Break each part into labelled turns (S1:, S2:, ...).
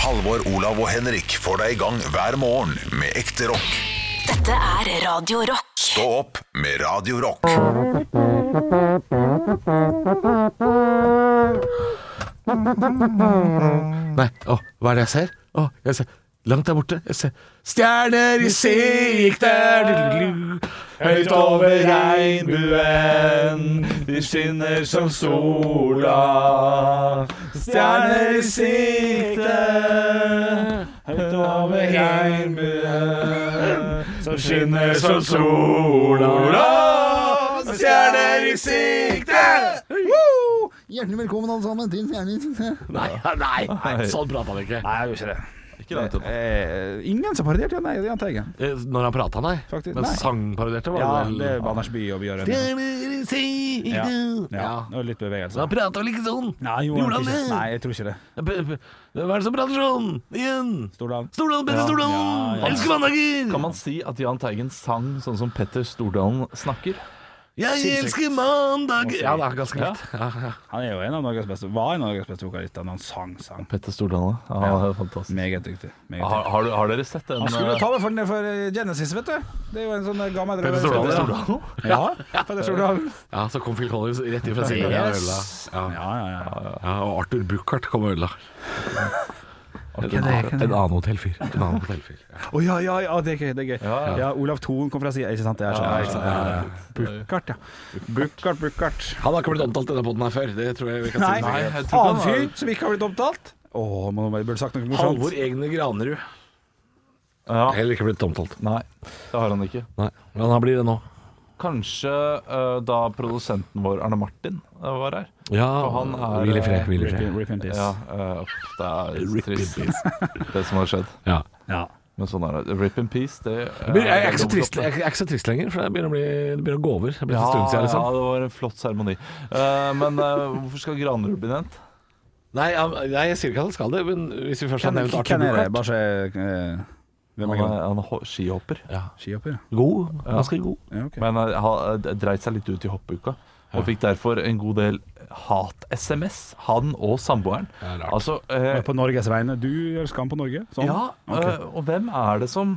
S1: Halvor, Olav og Henrik får deg i gang hver morgen med ekte rock.
S2: Dette er Radio Rock.
S1: Stå opp med Radio Rock.
S3: Nei, å, hva er det jeg ser? Å, jeg ser Langt der borte. Jeg ser stjerner i sikter, høyt over regnbuen. De skinner som sola. Stjerner i sikte, høyt over regnbuen. Som skinner som sola. Stjerner i sikte.
S4: Hjertelig velkommen alle sammen til Stjernen.
S3: Nei, nei, nei, sånn prater vi ikke.
S5: Nei, jeg gjorde ikke det.
S3: Ikke langt opp.
S5: Eh, ingen som parodierte Jan Jan Teigen.
S3: Eh, Når han prata, nei.
S5: Faktisk,
S3: Men
S5: nei.
S3: sangparodierte var
S5: Ja,
S3: vel-
S5: det er Banners by og Bjørn. Ja. Ja. ja. Det var litt
S3: Så
S5: bevegelse.
S3: han prata vel ikke sånn?
S5: Nei, gjorde han ikke.
S3: det?
S5: Nei, jeg tror ikke det.
S3: P- p- Hva er det som prater sånn? Igjen!
S5: Stordalen.
S3: Stordalen, Petter
S5: Ja,
S3: Stordalen!
S5: ja, ja.
S3: Elsker mandager!
S6: Kan man si at Jahn Teigen sang sånn som Petter Stordalen snakker?
S3: Jeg elsker mandager! Ja, det er ganske likt. Ja. Ja,
S5: Han er jo en av Norges beste Var en av Norges beste vokalister, men han sang sang.
S6: Petter Stordalen, ja. ja. det er Fantastisk.
S5: Meget dyktig. Meget
S6: Har,
S5: dyktig.
S6: har, du- har dere sett den?
S5: Han skulle
S6: eh,
S5: ta meg for, den- for Genesis, vet du. Det er jo en sånn gammel
S3: Petter Stordalen,
S5: Ja.
S3: Stordalen.
S5: Ja, Petter Stordalen.
S3: ja, så kom Phil Collins rett ifra siden og ødela. Ja.
S5: Ja, ja, ja.
S3: ja, og Arthur Buchardt kom og ødela. en, annen- en annen hotellfyr. En annen hotellfyr. Ja.
S5: Å ja, ja, ja, det er gøy. det er gøy
S6: ja.
S5: Ja, Olav Thon kom fra sida, ikke sant? Det er sånn. Ja, ikke sant? Ja, ja, ja. Burkhardt, ja. Burkhardt, Burkhardt.
S3: Han har ikke blitt omtalt i denne poden her før. Det tror jeg vi kan
S5: Nei,
S3: si.
S6: Nei, jeg tror ikke
S5: annen
S6: han
S5: fyr
S6: var-
S5: som ikke har blitt omtalt. Å, man burde sagt noe morsomt.
S3: Halvor Egne Granerud.
S6: Ja.
S3: Heller ikke blitt omtalt.
S6: Nei, det har han ikke.
S3: Nei, Men han blir det nå.
S6: Kanskje eh, da produsenten vår, Arne Martin, eh, var her.
S3: Ja,
S6: Og han er,
S3: hvil i fred. Hvil i
S5: Rip, in-
S3: fred.
S5: rip in peace.
S6: Ja, eh, uff, det er trist, det som har skjedd.
S3: Ja.
S5: Ja.
S6: Men sånn er det. Rip in peace, det
S3: Jeg, blir, jeg, er ikke så trist, jeg, er ikke så trist lenger, for det begynner å, bli, det begynner å gå over. Det blir
S6: Ja,
S3: en stund siden,
S6: ja,
S3: liksom.
S6: det var en flott seremoni. Eh, men eh, hvorfor skal Granerud bli nevnt?
S3: Nei, ja, nei, jeg sier ikke at han skal det, men hvis vi først har
S5: Hvem
S3: nevnt Arthur
S5: hvem er det?
S3: Buchardt
S5: Bare se eh, Hvem
S6: Han
S5: er
S6: er,
S5: det?
S6: han er ho- skihopper.
S5: Skihopper?
S3: God. Ganske god.
S5: Ja, ok.
S6: Men eh, ha- d- dreit seg litt ut i hoppuka. Og fikk derfor en god del hat-SMS, han og samboeren.
S3: Ja, rart.
S6: altså, eh,
S5: Men På Norges vegne. Du gjør skam på Norge? Sånn?
S6: ja,
S5: Ok.
S6: eh, og hvem er det som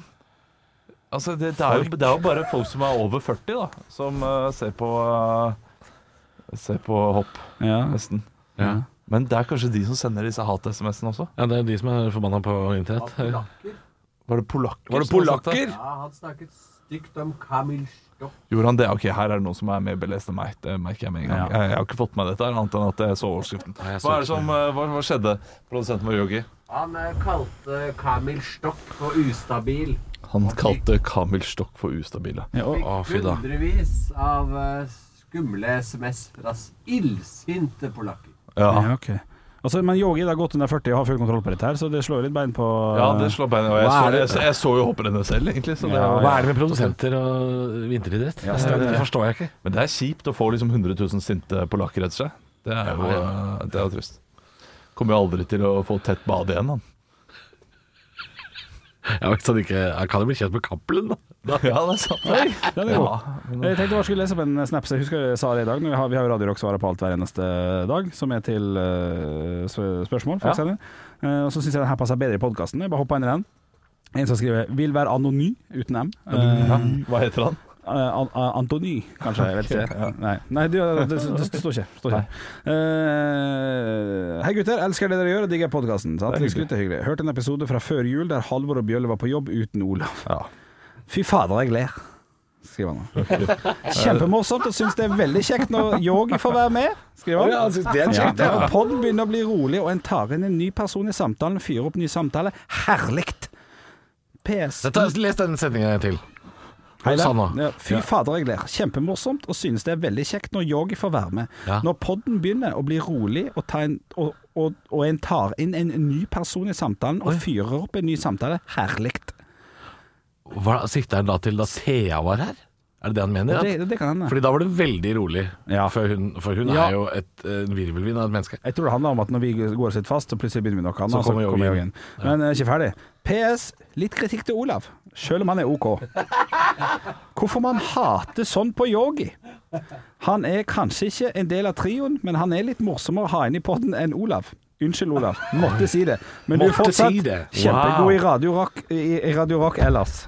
S6: Altså, det, det, er jo, det er jo bare folk som er over 40, da, som eh, ser på eh, Ser på hopp,
S5: ja.
S6: nesten.
S3: Ja.
S6: Men det er kanskje de som sender disse hat-SMS-ene også?
S3: ja, det er de som er forbanna på internett.
S6: Var det polakker?
S3: Var det
S6: som har sagt
S3: polakker?
S7: Ja, han snakket stygt om Kamil Stopp.
S6: Gjorde han det? Ok, her er det noen som er mer belest enn meg. Det merker jeg med en gang.
S5: Ja.
S6: Jeg, jeg har ikke fått med dette, her, annet enn at jeg så overskriften.
S3: Nei, jeg så
S6: Hva er det som, eh, hva, hva skjedde, produsenten vår Yogi?
S7: Han eh, kalte Kamil Stopp for ustabil.
S6: Han kalte Kamil Stokk for ustabile.
S5: Ja, og,
S3: Å, fy da.
S7: Hundrevis av eh, skumle SMS fra s- illsinte polakker.
S5: ja, ok. Altså, men Yogi det har gått under 40 og har full kontroll på dette, her så det slår litt bein på
S6: Ja, det slår beina. Og jeg,
S3: Hva er
S6: så,
S3: det-
S6: jeg, så- jeg så jo hopprennet selv, egentlig. Så det,
S5: eh, Ja,
S3: Hva er det med produsenter og vinteridrett?
S5: Ja,
S3: det,
S5: stemmer det.
S3: forstår jeg ikke.
S6: Men det er kjipt å få liksom 100 000 sinte polakker rett og slett. Det er jo eh, det er jo trist. Kommer jo aldri til å få tett bade igjen, han.
S3: Jeg, vet sånn ikke, jeg kan jo bli kjent med Cappelen, da.
S6: Ja, det er sant.
S5: Den er god. Jeg tenkte bare skulle lese opp en snaps. Jeg husker jeg sa det i dag. når Vi har, vi har jo Radio Rock svarer på alt hver eneste dag, som er til eh, spør- spørsmål. folk
S6: Ja.
S5: sender. Eh, og så syns jeg den her passer bedre i podkasten. Jeg bare hopper inn i den. En som skriver 'Vil være anony' uten M. Eh,
S6: Ja. Hva heter han?
S5: Eh, An An- Antony, kanskje. Jeg vet ikke. Nei, Nei det, det, det, det står ikke. Står ikke. Eh, hei gutter, elsker det dere gjør og digger podkasten. Hørte en episode fra før jul der Halvor og Bjølle var på jobb uten Olav. Fy fader, jeg ler. Skriver han. nå. Kjempemorsomt og syns det er veldig kjekt når Yogi får være med, skriver han.
S3: det er
S5: Ja, altså, og podden begynner å bli rolig, og en tar inn en ny person i samtalen, fyrer opp ny samtale. Herlig! PS.
S3: les den sendinga en gang til.
S5: Hei
S3: Hva
S5: der.
S3: sa han da?
S5: Ja, fy fader, jeg ler. Kjempemorsomt, og synes det er veldig kjekt når Yogi får være med.
S3: Ja.
S5: Når podden begynner å bli rolig, og, ta en, og, og, og en tar inn en ny person i samtalen, og fyrer opp en ny samtale, herlig.
S3: Hva sikter han da til da Thea var her? Er det det han mener?
S5: Det, det kan hende.
S3: Fordi da var det veldig rolig,
S5: Ja.
S3: for hun, for hun
S5: Ja.
S3: er jo et, en virvelvind av et menneske.
S5: Jeg tror det handler om at når vi går oss litt fast, så plutselig begynner vi noe annet.
S3: Så
S5: og
S3: kommer Yogi inn.
S5: Men jeg er ikke ferdig. PS. Litt kritikk til Olav, sjøl om han er OK. Hvorfor man hater sånn på Yogi? Han er kanskje ikke en del av trioen, men han er litt morsommere å ha inn i podden enn Olav. Unnskyld, Olav. Måtte si det. Men du er
S3: Måtte
S5: fortsatt
S3: si det.
S5: kjempegod i
S6: Wow.
S5: Radio Rock, i i Radio Rock ellers.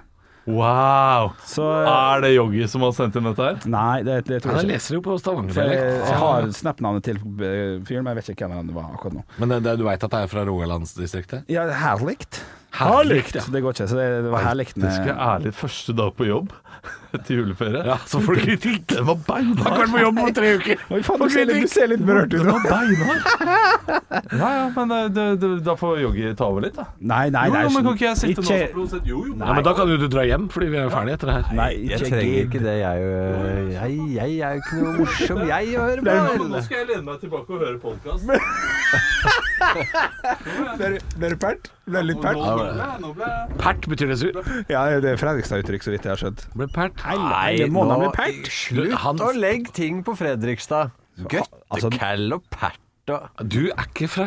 S6: Wow!
S5: Så
S6: Er det Joggi som har sendt inn dette her?
S5: Nei, det, det tror
S3: Ah. Han
S5: jeg ikke.
S3: leser jo på
S5: For jeg,
S3: Stavanger-dialekt.
S5: jeg har Snap-navnet til eh, fyren, men jeg vet ikke hvem han var akkurat nå.
S3: Men det, det, du veit at det er fra Rogalandsdistriktet?
S5: Ja, herlikt.
S3: Herlikt, ja.
S5: Det går ikke, så det, det var herlikt.
S6: Det skal jeg ærlig første dag på jobb etter juleferie.
S3: Ja, så får du kritikk.
S6: Den var beinhard!
S3: vært på jobb om tre uker!
S5: Eh, Oi, faen, du, ser litt, du ser litt berørt ut
S6: Den
S5: nå.
S6: var beinhard! Ja ja, men eh, det- det- da får Joggi ta over litt, da.
S5: Nei, nei,
S6: Jo,
S5: nei.
S6: jo, men
S5: sånn-
S6: kan ikke jeg sitte
S5: ikke-
S6: nå og si jo, jo?
S3: Ja, men da kan jo du dra hjem, fordi vi er ferdige etter det her.
S5: Nei,
S7: Jeg
S5: ikke
S7: trenger
S5: gidd.
S7: ikke det, jeg. øh, Jeg, jeg er jo ikke noe morsom, jeg, å høre
S6: Ja, men
S7: på.
S6: Nå skal jeg lene meg tilbake og høre podkast.
S5: Ble du pert? Ble du litt pert?
S6: Nå ble jeg
S3: Pert betyr det sur.
S5: Ja, det er Fredrikstad-uttrykk, så vidt jeg har skjønt.
S3: Ble pert.
S5: det må da bli pert.
S3: Slutt. Han,
S7: Og legg ting på Fredrikstad.
S5: Altså-
S7: Gøttekall og pert og
S3: du er ikke fra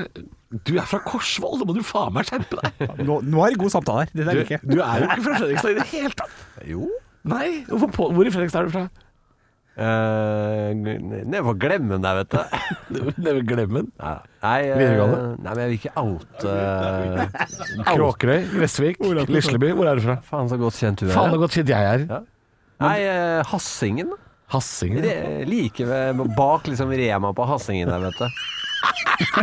S3: Du er fra Korsvoll, da må du faen meg skjerpe deg!
S5: Nå, nå er det god samtale her. Dette
S3: Du,
S5: er det ikke.
S3: du er jo ikke fra Fredrikstad i det hele tatt.
S7: Jo.
S3: Nei, hvorfor på, hvor i Fredrikstad er du fra?
S7: Uh, Nede på Glemmen der, vet du.
S3: Nede ved Glemmen?
S7: Ja. Nei, eh,
S3: Videregående?
S7: nei, men jeg vil ikke oute eh,
S3: Kråkerøy? Gressvik? Lisleby? Hvor er du fra?
S7: Faen så godt kjent du
S3: Faen
S7: er.
S3: så godt kjent jeg er.
S7: Nei, eh, Hassingen.
S3: Hassingen.
S7: Re- Like ved, bak liksom Rema på Hassingen der, vet du.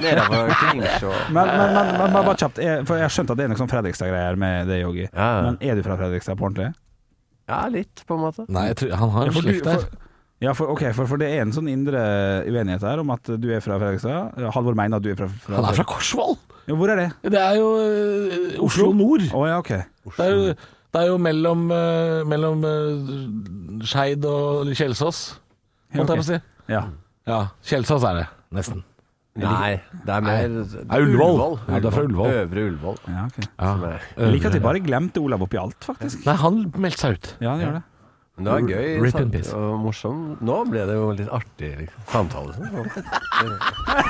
S7: Nede på Kringsjå.
S5: Men, men, men, men, men bare kjapt, jeg, for jeg har skjønt at det er noe sånn Fredrikstad-greier med det, Yogi.
S7: Ja.
S5: Men er du fra Fredrikstad på ordentlig?
S7: Ja, litt, på en måte.
S3: Nei, jeg tror, han har en
S5: For du-
S3: slekt der.
S5: for- Ja, for, ok, for, for det er en sånn indre uenighet her om at du er fra Fredrikstad. Halvor mener at du er fra, fra
S3: Han er fra Korsvoll!
S5: Ja, hvor er det?
S3: Det er jo eh, Oslo nord.
S5: Å ja, ok.
S3: Det er jo, det er jo mellom, eh, mellom eh, Skeid og Kjelsås,
S5: Ja,
S3: holdt jeg
S5: ok.
S3: på å si.
S5: Ja.
S3: Ja, Kjelsås er det, nesten.
S7: Nei, det er mer
S3: er Ullevål. Ja, det er fra Ullevål.
S7: Øvre Ullevål.
S5: ja ok.
S7: som er-
S5: Jeg liker at vi bare glemte Olav oppi alt, faktisk.
S3: Nei, han meldte seg ut.
S5: Ja, det gjør det.
S7: Men det var gøy
S3: Rip in
S7: sant,
S3: peace.
S7: og morsom. Nå ble det jo litt artig liksom. samtale. Sånn.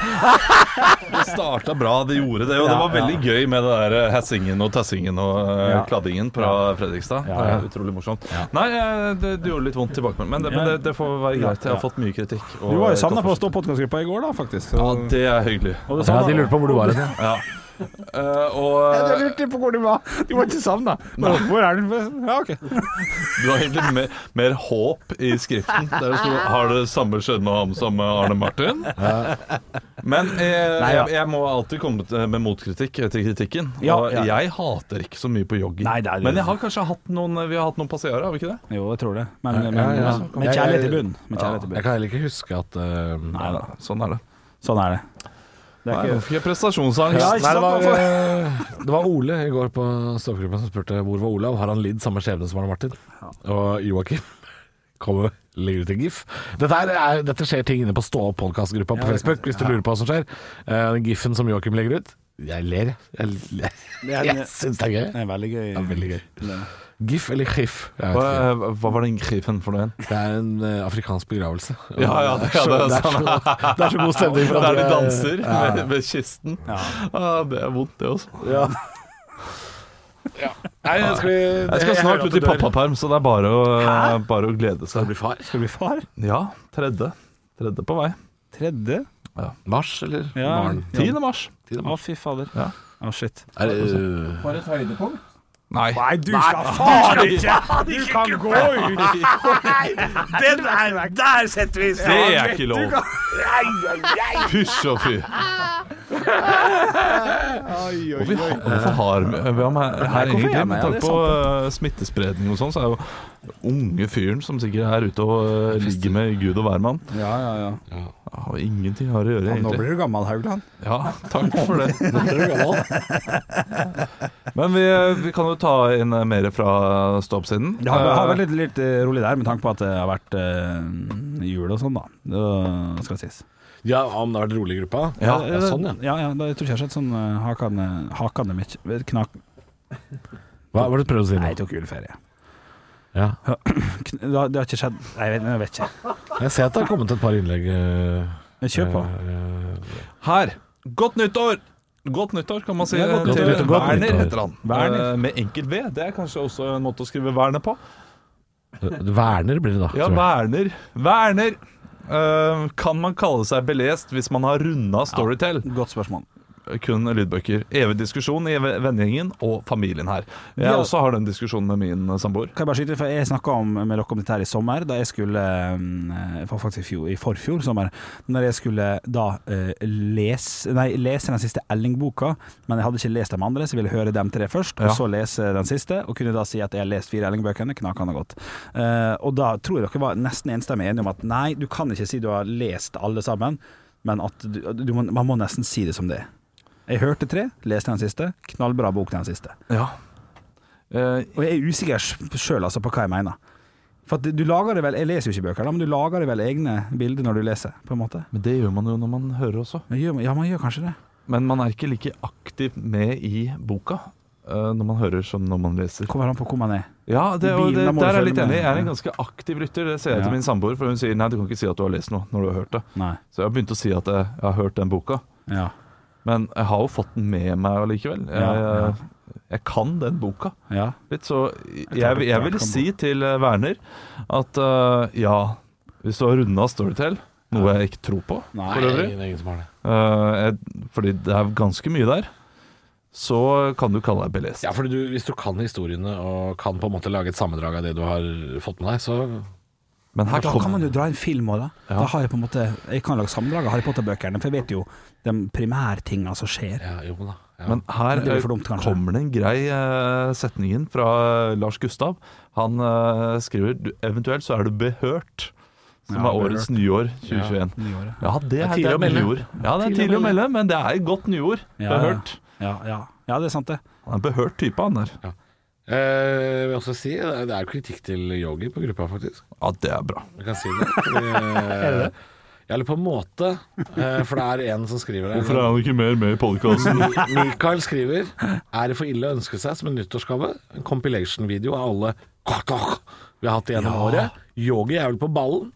S6: Det starta bra, det gjorde det. Og det var veldig gøy med det der eh, hassingen og tassingen og eh,
S5: Ja.
S6: kladdingen fra Fredrikstad. Det er utrolig morsomt. Nei, eh, det, det gjorde litt vondt tilbake, men det, men det, det får være greit. Jeg har fått mye kritikk. og
S5: Du var
S6: jeg
S5: jo savna
S6: kan
S5: på å stå podkastgruppa i går, da, faktisk.
S6: forstå- Ja, det er hyggelig.
S5: Og det
S3: Ja,
S5: savnet-
S3: de lurte på hvor du var hen.
S6: Ja. Eh, og
S5: Ja,
S6: eh,
S5: Jeg lurte på hvor du var. Du var ikke savna. Hvor hvor er den? Ja, ok.
S6: du har egentlig mer, mer håp i skriften. Der det sto 'Har det samme skjedd med ham som med Arne Martin'? Men eh,
S5: Nei, ja.
S6: jeg, jeg må alltid komme til- med motkritikk eh, til kritikken.
S5: Ja,
S6: og
S5: ja.
S6: jeg hater ikke så mye på joggi.
S5: Nei, det er-
S6: Men jeg har kanskje hatt noen Vi har hatt noen passiarer, har vi ikke det?
S5: Jo, jeg tror det. Men, men,
S3: ja, ja.
S5: men med kjærlighet i bunnen. Med kjærlighet i
S3: Jeg
S5: bunnen.
S3: kan heller ikke huske at eh,
S5: Nei da.
S6: Sånn er det.
S5: Sånn er det. Det
S6: Nei,
S5: er
S6: nå
S5: ikke
S6: fikk jeg prestasjonsangst.
S5: Ja, ikke
S3: Nei, det, var,
S5: sant,
S3: eh, det var Ole i går på stoppgruppa som spurte hvor var Olav. Har han lidd samme skjebne som Arne Martin? Og Joakim kommer legger ut en gif. Dette, her er, dette skjer ting inne på Stå opp podkastgruppa på Facebook, hvis du lurer på hva som skjer. Eh, Den gifen som Joakim legger ut Jeg ler, jeg. Jeg,
S5: Det er-
S3: jeg, jeg syns det er
S5: Det
S3: gøy.
S5: er veldig gøy.
S3: Det er veldig gøy. GIF eller GIF? Jeg vet ikke.
S6: Hva, eh, hva var den grifen for noe igjen?
S3: Det er en eh, afrikansk begravelse. Og
S6: Ja, ja, det- ja, det
S3: så-
S6: er sånn.
S3: det, er så, det er så god stemning. for at
S6: Der de
S3: det er-
S6: danser ved, ved kisten. Ah, det er vondt, det også.
S3: Nei, skal vi,
S6: Jeg skal snart ut i pappaperm, så det er bare å, bare å glede
S3: Skal du
S6: seg.
S3: bli far?
S5: Skal du bli far?
S6: Ja, tredje. Tredje på vei.
S5: Tredje?
S3: Mars eller
S5: Ja.
S3: barn?
S6: 10. mars.
S5: Å, fy fader. Å,
S6: Ja.
S5: shit.
S3: Er det, øh,
S7: For et høydepunkt.
S6: Nei.
S5: Nei, du skal faen ikke! Du kan gå ut! Den der, der setter vi
S6: Det er ikke lov. Fysj og fy. Og vi har, hvorfor har vi, vi har med, her
S5: hvorfor er
S6: egentlig,
S5: jeg med?
S6: med
S5: Ja, det
S6: tanke
S5: er
S6: på eh, smittespredning og sånn, så er jo unge fyren som sikkert er ute og eh, ligger med gud og hvermann,
S5: Ja, ja, ja.
S6: har ingenting har å gjøre,
S5: Nå
S6: egentlig.
S5: blir du gammel, Haugland.
S6: Ja, takk for det. Men vi, eh, vi kan jo ta inn eh, mer fra stoppsiden.
S5: Det har, har vært litt, litt eh, rolig der, med tanke på at det har vært eh, jul og sånn, da. Det skal sies.
S3: ja, om det har vært rolig i gruppa?
S6: Ja,
S3: ja sånn, ja.
S5: Ja, ja, da, jeg tror ikke jeg har sett sånn eh, hakene, hakene mitt knak...
S3: Hva var det du prøvde å si
S5: Nei,
S3: nå?
S5: jeg tok juleferie.
S3: Ja.
S5: Kn- Det har, det har ikke skjedd Nei, jeg vet, jeg vet ikke.
S3: Jeg ser at det har kommet et par innlegg. øh,
S5: Men Kjør på.
S3: øh,
S6: Her. Godt nyttår! Godt nyttår, kan man si. Eh,
S5: Ja, godt
S6: til
S3: nyttår, godt
S6: Werner
S3: nyttår.
S6: heter han.
S5: Werner.
S6: Eh, Med enkel V. Det er kanskje også en måte å skrive Werner på.
S3: øh, Werner blir det da.
S6: Ja,
S3: tror jeg.
S6: Werner. Werner! Eh, kan man kalle seg belest hvis man har runda Storytel?
S5: Godt spørsmål.
S6: kun lydbøker. Evig diskusjon i ve- vennegjengen og familien her. Jeg
S5: Ja.
S6: også har den diskusjonen med min eh, samboer.
S5: Kan jeg bare skyte, inn, for jeg snakka med dere om dette her i sommer, da jeg skulle eh, fa- Faktisk i, fjor, i forfjor sommer. Når jeg skulle da eh, lese Nei, lese den siste Elling-boka, men jeg hadde ikke lest de andre, så jeg ville høre dem tre først, og
S6: Ja.
S5: så lese den siste, og kunne da si at jeg har lest fire Elling-bøkene. Knakende godt. Eh, og da tror jeg dere var nesten enstemmig enige om at nei, du kan ikke si du har lest alle sammen, men at du, du må, man må nesten si det som det er. Jeg hørte tre, leste den siste. Knallbra bok, den siste.
S6: Ja. Eh,
S5: Og jeg er usikker sjøl altså, på hva jeg mener. For at du lager det vel, Jeg leser jo ikke bøker, da, men du lager det vel egne bilder når du leser? på en måte
S6: men det gjør man jo når man hører også.
S5: Men gjør, Ja, man gjør kanskje det.
S6: Men man er ikke like aktivt med i boka eh, når man hører som når man leser.
S5: Kommer an på hvor man er.
S6: Ja, det,
S5: I
S6: og
S5: bilen,
S6: det,
S5: da må du
S6: der er jeg
S5: følge
S6: litt enig.
S5: med.
S6: Jeg er en ganske aktiv lytter. Det ser jeg
S5: Ja.
S6: til min samboer, for hun sier nei, du kan ikke si at du har lest noe når du har hørt det.
S5: Nei.
S6: Så jeg har begynt å si at jeg, jeg har hørt den boka.
S5: Ja.
S6: Men jeg har jo fått den med meg allikevel. Jeg,
S5: Ja,
S6: jeg kan den boka
S5: ja.
S6: litt, så jeg,
S5: Jeg tror
S6: jeg,
S5: det klart
S6: vil
S5: kan
S6: si til eh, Werner at eh, ja, hvis du har runda Storytel, noe jeg ikke tror på for øvrig,
S3: er ingen som har det.
S6: eh, jeg, fordi det er ganske mye der, så kan du kalle deg belest.
S3: Ja, fordi du, Hvis du kan historiene og kan på en måte lage et sammendrag av det du har fått med deg, så
S6: Men her
S5: Da kan man
S6: kommer
S5: jo dra en film òg, da. Da har Jeg på en måte Jeg kan lage sammendrag av Harry Potter-bøkene, for jeg vet jo de primærtinga som skjer.
S3: ja, jo da. Ja.
S6: men her
S5: Det blir
S6: eh,
S5: for dumt, kanskje.
S6: kommer det en grei eh, setning inn fra eh, Lars Gustav. Han eh, skriver du, 'eventuelt så er du behørt', som
S5: Ja,
S6: er årets nyår 2021.
S5: Nyåret.
S6: Ja, det er,
S3: tidlig
S6: det
S3: å
S6: er
S3: melde.
S6: nyord. Ja, det er tidlig å melde, men det er et godt nyord.
S5: Ja, ja.
S6: Behørt.
S5: Ja, ja. ja, det er sant, det.
S6: Han er en behørt type, han der.
S3: Eh, jeg vil også si, det er jo kritikk til yogi på gruppa, faktisk.
S6: Ja, det er bra.
S3: Jeg kan si det. Fordi, er det? Ja, eller på en måte. eh, For det er en som skriver det.
S6: er han ikke mer med i podkasten?
S3: Mikael skriver Er det for ille å ønske seg som en nyttårsgave? En compilation-video av alle kakak vi har hatt gjennom året. Yogi er vel på ballen?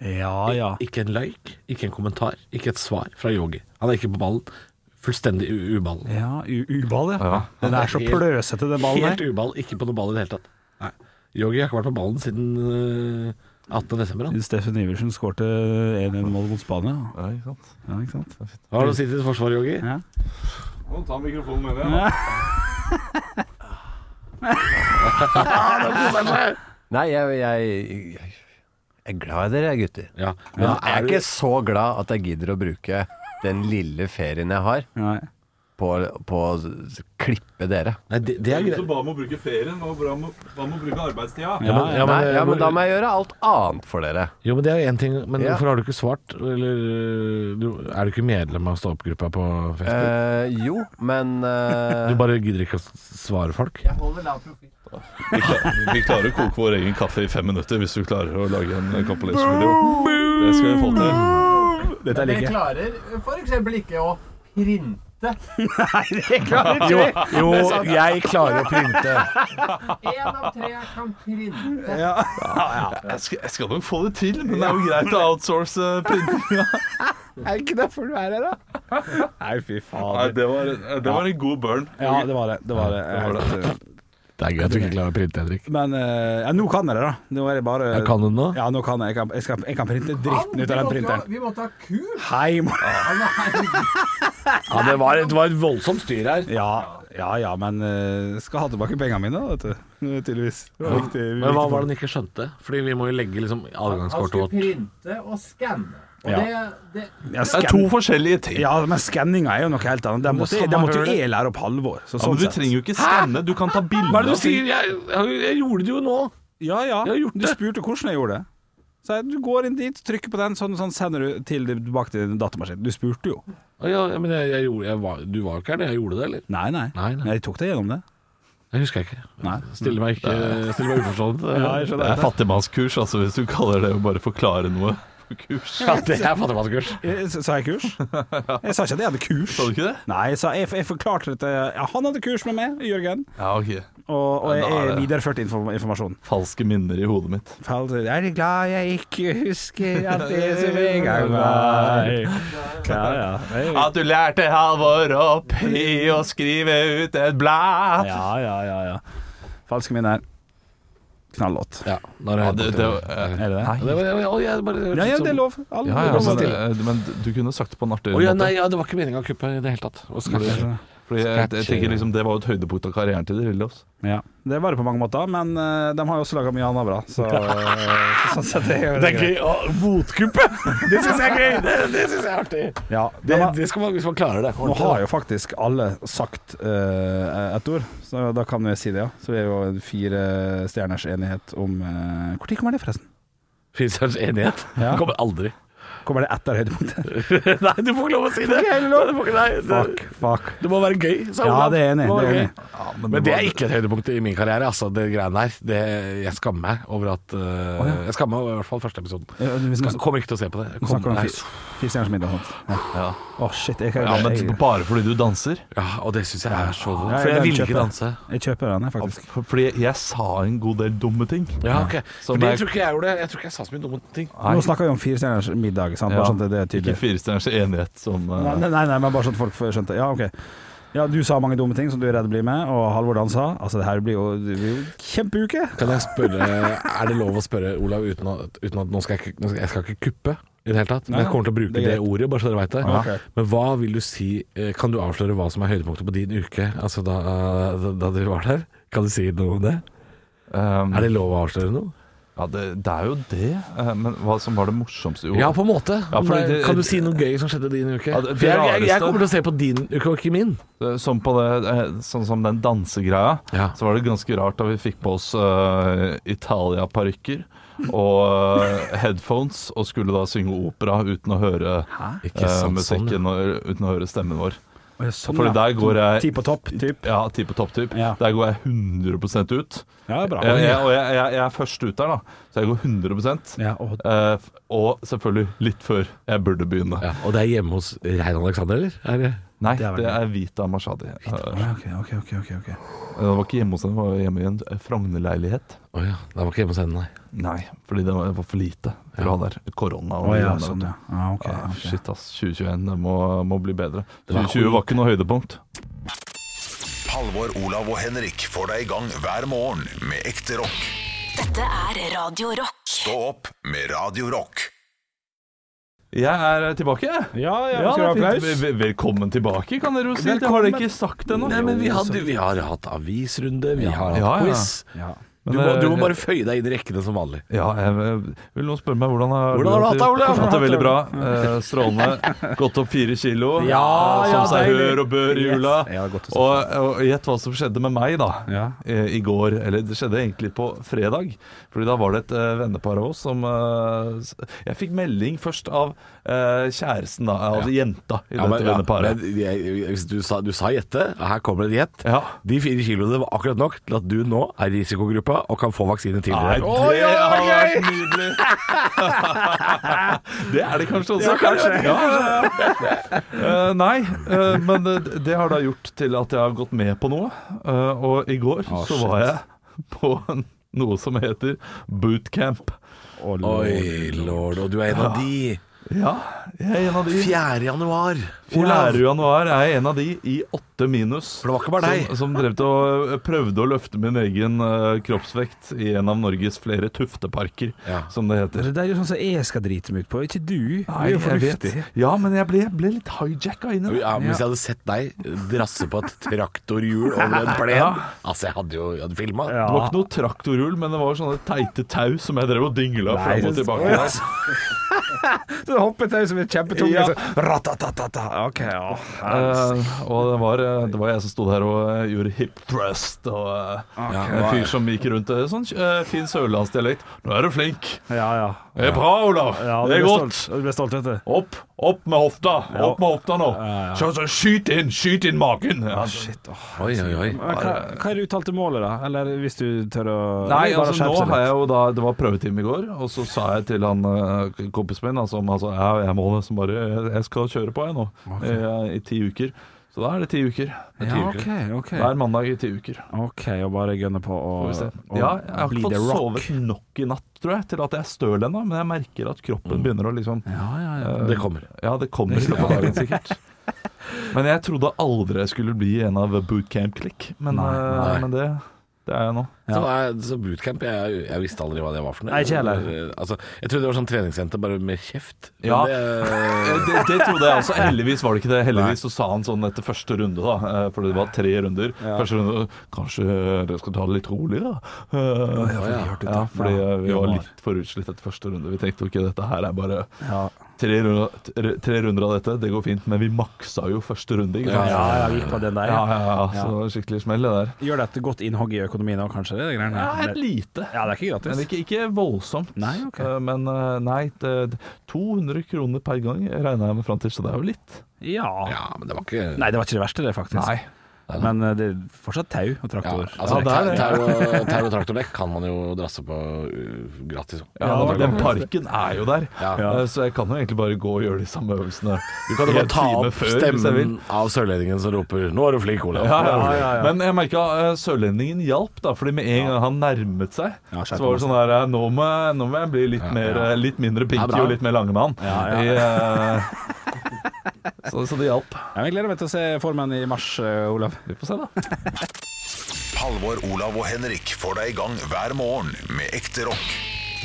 S5: Ja, ja.
S3: Ikke en like, ikke en kommentar, ikke et svar fra Yogi. Han er ikke på ballen. Fullstendig u- uballen.
S5: ja u- Uball, ja.
S6: Ja.
S5: Den er så
S3: Helt-
S5: pløsete, den ballen
S3: Helt
S5: der.
S3: uball, ikke på noe ball i det hele tatt. Nei. Yogi har ikke vært på ballen siden eh, 18. desember. Han.
S5: Steffen Iversen skårte 1-1-mål mot Spania.
S6: Ja, ikke sant.
S5: Ja, ikke sant?
S3: Hva har du å si til ditt forsvar, Yogi?
S5: Ja.
S6: Nå tar mikrofonen med
S5: da.
S7: Nei, jeg, jeg, jeg er glad i dere, jeg, gutter.
S3: Ja. Men
S7: Men jeg
S3: er
S7: er
S3: du,
S7: ikke så glad at jeg gidder å bruke den lille ferien jeg har,
S5: Nei.
S7: på, på å s- klippe dere.
S3: nei, det, det er greit.
S6: Hva med å bruke ferien? Hva med å bruke arbeidstida?
S5: Ja, ja. eh,
S3: Ja, men-
S7: Nei, ja, men da må jeg gjøre alt annet for dere.
S3: Jo, men det er én ting. Men
S7: Ja.
S3: hvorfor har du ikke svart? Eller øh, du, er du ikke medlem av stå-opp-gruppa på Facebook?
S7: Eh, jo, men eh,
S3: du bare gidder ikke å s- svare folk?
S6: Vi, kla- vi klarer å koke vår egen kaffe i fem minutter hvis du klarer å lage en kompilation-video. Det skal vi få til.
S5: Dette liker jeg.
S8: klarer f.eks. ikke å printe
S5: Jo, jo, jeg klarer å printe.
S8: Én av tre kan printe.
S6: Jeg skal, jeg skal nok få det til, men det er jo greit å outsource eh, printinga.
S5: Er ikke derfor du er her, da? Nei, fy
S6: Nei,
S5: fader.
S6: det var, eh, det var en god burn.
S5: Ja, det var det. det, var det. Jeg-
S3: Det er gøy at du ikke klarer å printe, Henrik.
S5: Men eh, ja, nå kan jeg det, da. Nå er det bare
S3: Ja, kan du det nå?
S5: Ja, nå kan jeg. Jeg kan, jeg skal, jeg kan printe dritten ut av den printeren.
S8: Vi måtte ha kurs!
S5: Hei, må-
S3: Ja, det var, et- det var et voldsomt styr her.
S5: ja, ja, ja, men eh, skal ha tilbake pengene mine, da, vet du. Det er Tydeligvis. Det var viktig,
S3: Men hva var det han ikke skjønte? Fordi vi må jo legge liksom
S8: Han
S3: adgangskortet
S8: skulle
S3: vårt.
S8: printe og skanne. Og
S5: Ja.
S8: det, det
S5: Ja,
S6: Det
S5: scan-
S6: er to forskjellige ting.
S5: ja, men skanninga er jo noe helt annet. Den måtte,
S6: samme
S5: den måtte jo
S6: hølet.
S5: jeg lære opp Halvor. Så,
S6: Ja,
S5: sånn
S6: men du
S5: sett.
S6: trenger jo ikke skanne, du kan ta bilder.
S3: Hva er det du
S6: av ting.
S3: sier? Jeg, jeg, jeg gjorde det jo nå.
S5: Ja, ja.
S3: Jeg har gjort
S5: du
S3: det.
S5: spurte hvordan jeg gjorde det. Så jeg, du går inn dit, trykker på den, sånn, sånn sender du til, tilbake til datamaskinen. Du spurte jo.
S3: Å, Ja, ja, men jeg, jeg gjorde, jeg var, du var jo ikke her da jeg gjorde det, eller?
S5: Nei, nei.
S3: Nei, nei.
S5: Men Jeg tok deg gjennom det.
S3: Jeg husker jeg ikke.
S5: Nei.
S3: Stiller meg, ikke, stiller meg uforstående.
S5: Ja, jeg
S6: Det er fattigmannskurs, altså, hvis du kaller det å bare forklare noe på kurs.
S3: Ja, det er fattigmannskurs.
S5: Jeg- Eh, Sa jeg kurs? Jeg sa ikke at jeg hadde kurs.
S6: Sa du ikke det?
S5: Nei, jeg, sa, jeg, jeg forklarte dette. Ja, han hadde kurs med meg, Jørgen,
S6: Ja, ok.
S5: og, og jeg,
S6: Ja, da
S5: jeg
S6: er det-
S5: videreførte inform informasjon.
S6: Falske minner i hodet mitt.
S5: Fall til- Jeg er glad jeg ikke husker at det som en gang var Ja, ja. Ja,
S6: At du lærte Halvor å pi og skrive ut et blad.
S5: ja, ja. ja. Falske minner. Knallåt.
S3: Ja, nå er
S6: Ja,
S3: det,
S6: det, det,
S3: det,
S6: eh,
S5: Er det det?
S6: nei.
S3: det var, å, jeg bare, sånn-
S5: Ja, ja, det er lov.
S3: Mm.
S5: Alle
S6: Ja, ja,
S5: alle-
S6: men, eh, men du kunne sagt det på en artigere
S3: Å ja, nei,
S6: måte.
S3: ja, det var ikke meninga å kuppe i det hele tatt. Og skal,
S6: Fordi jeg, jeg
S3: Scratch,
S6: tenker liksom Det var jo et høydepunkt av karrieren til Drillos.
S5: Ja. Det var det på mange måter, men eh, de har jo også laga mye annet bra, så sånn sett er jo greit.
S3: å motkuppe! Det syns jeg er gøy! Det, det syns jeg er artig.
S5: Ja,
S3: Det,
S5: de har,
S3: det skal man, hvis man klarer det.
S5: nå har jo faktisk alle sagt eh, et ord, så da kan vi si det, ja. Så vi er jo en fire stjerners enighet om uh, Når kommer det, forresten?
S3: Finsterens enighet.
S5: Ja.
S3: Det Kommer aldri.
S5: Kommer det etter høydepunktet?
S3: nei, du får ikke lov å si det! Du, får ikke, nei,
S5: Fuck,
S3: det,
S5: fuck.
S3: det må være gøy, sa
S5: Ja,
S3: Olav.
S5: det er enig.
S3: må
S5: Det er
S3: være gøy.
S5: enig.
S3: Men det er ikke et høydepunkt i min karriere, altså, det greiene her. Det, jeg skammer meg over at eh, Jeg skammer meg over i hvert fall første episoden.
S5: Ja, vi skal-
S3: Skal- Kommer ikke til å se på det.
S5: Vi
S3: Kommer-
S5: snakker om
S3: nei,
S5: fi- fire stjerners middag og sånt. Ja. Å, shit. Jeg, kan-
S6: Ja, men
S5: jeg,
S6: Bare fordi du danser?
S3: ja, og det syns jeg er så vondt.
S5: Ja,
S3: For jeg
S5: den
S3: ville
S5: kjøper
S3: ikke danse.
S5: jeg kjøper den, jeg, faktisk.
S6: For- Fordi jeg sa en god del dumme ting.
S3: Ja, ok.
S6: Som
S3: For det
S6: jeg-
S3: tror ikke jeg gjorde. Jeg tror ikke jeg sa så mye dumme ting.
S6: Nei.
S5: Nå snakker vi om fire stjerners middag, sant?
S6: Ja.
S5: Bare sånn at det er
S6: Ikke
S5: tydelig.
S6: firestjerners enighet som eh,
S5: Nei, nei, nei, men bare sånn at folk får skjønte. Ja, ok. Ja, du sa mange dumme ting som du er redd blir med, og Halvor dansa. Altså, det her blir jo, det blir jo kjempeuke.
S3: Kan jeg spørre Er det lov å spørre, Olav, uten at, uten at nå skal jeg, ikke- nå skal, jeg skal ikke kuppe i det hele tatt? Men jeg kommer til å bruke
S5: det
S3: det,
S5: er greit.
S3: ordet, bare så dere veit det.
S5: Ja, ok.
S3: Men hva vil du si eh, Kan du avsløre hva som er høydepunktet på din uke, altså da, eh, da, da du var der? Kan du si noe om det?
S6: ehm,
S3: Er det lov å avsløre noe?
S6: Ja, det, det er jo det. eh, Men hva som var det morsomste? Jo,
S3: Ja, på en måte.
S6: Ja, for
S3: Men
S6: det-
S3: kan du si noe gøy som skjedde din uke?
S6: Ja, det- det
S3: For jeg, jeg, jeg
S6: rareste-
S3: kommer til å se på din uke, og ikke min.
S6: eh, som på det, eh, sånn som den dansegreia,
S3: Ja.
S6: så var det ganske rart da vi fikk på oss eh, Italia-parykker og eh, headphones, og skulle da synge opera uten å høre eh,
S3: Ikke sant, sånn, ja.
S6: musikken og uten å høre stemmen vår.
S5: Sånn,
S6: Fordi der går jeg
S5: Ti på topp, typ.
S6: Ja, ti på topp-typ.
S5: Ja.
S6: Der går jeg 100 ut.
S5: Ja, bra.
S6: Jeg, jeg, og jeg, jeg, jeg er først ut der, da, så jeg går 100
S5: Ja, og,
S6: Eh, f- og selvfølgelig litt før jeg burde begynne.
S3: Ja, og det er hjemme hos Rein Alexander, eller? Er det?
S6: Nei,
S5: Det er vel
S6: det
S5: det.
S6: er Vita Mashadi. Eh,
S5: Ja, ok, ok, ok, ok, ok.
S6: Det var ikke hjemme hos henne, det var hjemme i en eh, Frogner-leilighet.
S3: Å ja, det var ikke hjemme hos henne, nei.
S6: Nei, fordi det var det var for lite for å ha der. Korona og
S5: Å, ja,
S6: greiene, vet
S5: sånn,
S6: du.
S5: ja. Ja, ok,
S6: Ah,
S5: ok.
S6: Shit, ass. 2021 det må, må bli bedre.
S3: var
S6: 2020 var ikke noe høydepunkt.
S1: Halvor, Olav og Henrik får deg i gang hver morgen med ekte rock.
S2: Dette er Radio Rock.
S1: Stå opp med Radio Rock.
S6: Jeg er tilbake, jeg.
S5: Ja, ja,
S6: Ja,
S5: skal du ha
S6: det er fint.
S5: applaus?
S6: Vel- vel- Velkommen tilbake, kan dere jo si. Altså, Det har dere ikke sagt ennå.
S3: Nei, men vi, hadde, vi har hatt avisrunde, vi har hatt
S6: Ja, ja.
S3: quiz.
S5: Ja.
S3: Du,
S6: Men,
S3: må,
S6: eh,
S3: du må bare føye deg inn i rekkene som vanlig.
S6: Ja, jeg jeg- vil noen spørre meg hvordan har
S3: Hvordan har du hatt det, Ole?
S6: Jeg har Hatt det veldig bra.
S5: Hvordan
S6: Eh, strålende. Gått opp fire kilo.
S3: Ja,
S6: Eh,
S3: ja,
S6: som seg
S3: deilig.
S6: hør og bør i jula.
S5: Ja, godt å se.
S6: Og, og gjett hva som skjedde med meg da
S5: Ja.
S6: eh, i går. Eller det skjedde egentlig på fredag. Fordi da var det et eh, vennepar av oss som eh, s- Jeg fikk melding først av eh, kjæresten, da. Altså jenta i
S3: Ja, men,
S6: dette
S3: ja,
S6: venneparet.
S3: men jeg- hvis du, sa, du sa gjette, og her kommer det et gjett.
S6: Ja.
S3: De fire kiloene var akkurat nok til at du nå er i risikogruppa og kan få vaksine
S6: Nei,
S3: tidligere.
S6: det
S3: Å, ja, det
S6: har
S3: var gøy!
S6: vært nydelig! det er det kanskje også. Ja, kanskje. Eh, nei, eh, men det, det har da gjort til at jeg har gått med på noe. Eh, og i går så var jeg på en, noe som heter bootcamp.
S5: Å, lord.
S3: Oi, lord. Og du er en av de.
S6: Ja, jeg er en av de.
S3: 4. januar.
S6: 4. januar er jeg en av de i åtte minus.
S3: For det var ikke bare deg.
S6: Som, som drev til å eh, prøvde å løfte min egen eh, kroppsvekt i en av Norges flere tufteparker,
S3: Ja.
S6: som det heter.
S5: Det er jo sånn som jeg skal drite meg ut på, ikke du.
S6: Nei,
S5: du er jo
S6: jeg vet.
S5: fornuftig.
S6: Ja, men jeg ble, ble litt hijacka inn i det.
S3: Ja, men Hvis jeg hadde sett deg drasse på et traktorhjul over en plen Altså, jeg hadde jo jeg hadde filma.
S5: Ja.
S6: Det var ikke noe traktorhjul, men det var sånne teite tau som jeg drev og dingla
S5: Nei,
S6: fram og
S5: det-
S6: tilbake. der.
S5: Du hoppet deg som en kjempetung
S6: Ja.
S5: og så- Ratatatata. Ok, ja.
S6: Eh, og det var, eh, det var jeg som sto der og eh, gjorde hip thrust. Og eh,
S3: Ja,
S6: en fyr som gikk rundt eh, sånn eh, fin sørlandsdialekt. 'Nå er du flink'.
S5: Ja, ja.
S6: Det er bra, Olav.
S5: ja du
S6: det er
S5: ble
S6: godt.
S5: stolt. Du ble stolt, vet du.
S6: Opp opp med hofta. Opp med hofta nå. Så, så, skyt inn, skyt inn magen. Ja,
S3: Oi, oi, oi.
S5: Men Hva, hva er det uttalte målet, da? Eller hvis du tør å
S6: Nei,
S5: Eller bare
S6: altså
S5: skjerpe
S6: nå
S5: seg litt.
S6: har jeg jo da Det var prøvetime i går, og så sa jeg til han eh, kompisen min altså, om, altså, jeg, jeg må nesten bare jeg, jeg skal kjøre på, jeg nå. eh, I ti uker. Så da er det ti uker. Det er ti
S5: Ja,
S6: uker.
S5: OK. ok.
S6: Hver mandag i ti uker.
S5: OK, og bare gønne på å
S6: Får vi se.
S5: å
S6: Ja, jeg har
S5: bli
S6: ikke
S5: the
S6: fått
S5: rock.
S6: sovet nok i natt, tror jeg, til at jeg er støl ennå, men jeg merker at kroppen begynner å liksom
S5: Ja, ja, Mm. ja.
S6: eh,
S3: Det kommer.
S6: Ja, det kommer i løpet av dagen, sikkert. Men jeg trodde aldri jeg skulle bli en av bootcamp-klikk, men, eh, men det Det er jeg nå.
S3: Så, nei, så bootcamp jeg, jeg visste aldri hva det var for noe.
S5: Nei, ikke heller.
S3: Altså, jeg trodde det var sånn treningssenter, bare med kjeft. Men
S6: Ja.
S3: Det,
S6: Eh, Det, det trodde jeg også. Heldigvis var det ikke det. Heldigvis så sa han sånn etter første runde, da. eh, For det var tre runder. Første runde Kanskje eh, dere skal ta det litt rolig, da. Eh, ja, fordi eh, vi var litt for utslitt etter første runde. Vi tenkte jo ikke dette her er bare tre runder, tre- tre runder av dette, det går fint. Men vi maksa jo første runde, ikke sant.
S5: Ja, jeg gikk på den der.
S6: Ja,
S5: Ja.
S6: ja, ja. Så det var en skikkelig smell, det der.
S5: Gjør det et godt innhogg i økonomien òg, kanskje? Det, er greiene.
S6: Ja, et
S5: Men-
S6: lite.
S5: ja, det er ikke
S6: Men
S5: gratis.
S6: ikke, ikke voldsomt.
S5: Nei, ok.
S6: Eh, Men eh, nei, det, 200 kroner per gang regna jeg med fram til, så det er jo litt.
S5: Ja.
S3: ja, men det var ikke
S5: Nei, det var ikke det verste, det, faktisk. Men eh, det er fortsatt tau og
S3: Ja,
S5: traktor.
S3: altså,
S6: Ja, det er det.
S3: Tau og, tau og traktordekk kan man jo drasse på uh, gratis.
S6: Ja, Den parken er jo der,
S3: Ja.
S6: Eh, så jeg kan jo egentlig bare gå og gjøre de samme øvelsene.
S3: Du kan jo
S6: En
S3: bare ta
S6: time
S3: opp
S6: før, hvis jeg vil.
S3: stemmen av sørlendingen som roper 'Nå er du flink, Olav'.
S6: Ja, ja, ja, ja. Men jeg merka sørlendingen hjalp, da, fordi med en gang han nærmet seg,
S5: Ja,
S6: så
S5: skjerpet
S6: var det sånn her eh, Nå må jeg, nå må jeg bli litt, mer, eh, litt mindre pinky
S3: bra.
S6: og litt mer langemann. I, eh, så, så det hjalp.
S5: Ja, jeg gleder meg til å se formen i mars, eh, Olav.
S6: Vi får se, da.
S1: Halvor, Olav og Henrik får deg i gang hver morgen med ekte rock.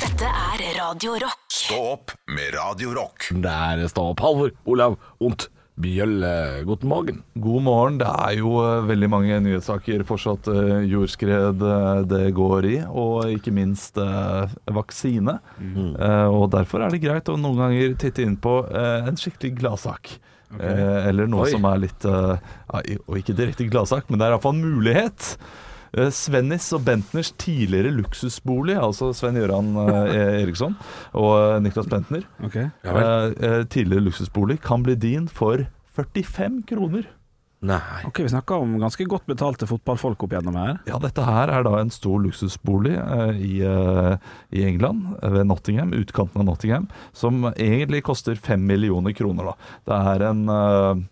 S2: Dette er Radio Rock.
S1: Stå opp med Radio Rock.
S3: Det er stå opp, Halvor, Olav, ondt, Bjølle, guten morgen.
S6: God morgen. Det er jo eh, veldig mange nyhetssaker fortsatt. eh, jordskred eh, det går i, og ikke minst eh, vaksine. Eh, og derfor er det greit å noen ganger titte inn på eh, en skikkelig gladsak. Eh, eller noe
S3: Oi.
S6: som er litt eh, ja, i- Og ikke direkte gladsak, men det er iallfall en mulighet. Eh, Svennis og Bentners tidligere luksusbolig, altså Sven-Gøran eh, Eriksson og eh, Niklas Bentner, eh, eh, tidligere luksusbolig kan bli din for 45 kroner.
S3: Nei.
S5: Ok, Vi snakker om ganske godt betalte fotballfolk opp gjennom her.
S6: Ja, dette her er da en stor luksusbolig eh, i, eh, i England, eh, ved Nottingham, utkanten av Nottingham, som egentlig koster fem millioner kroner. da. Det er en, eh,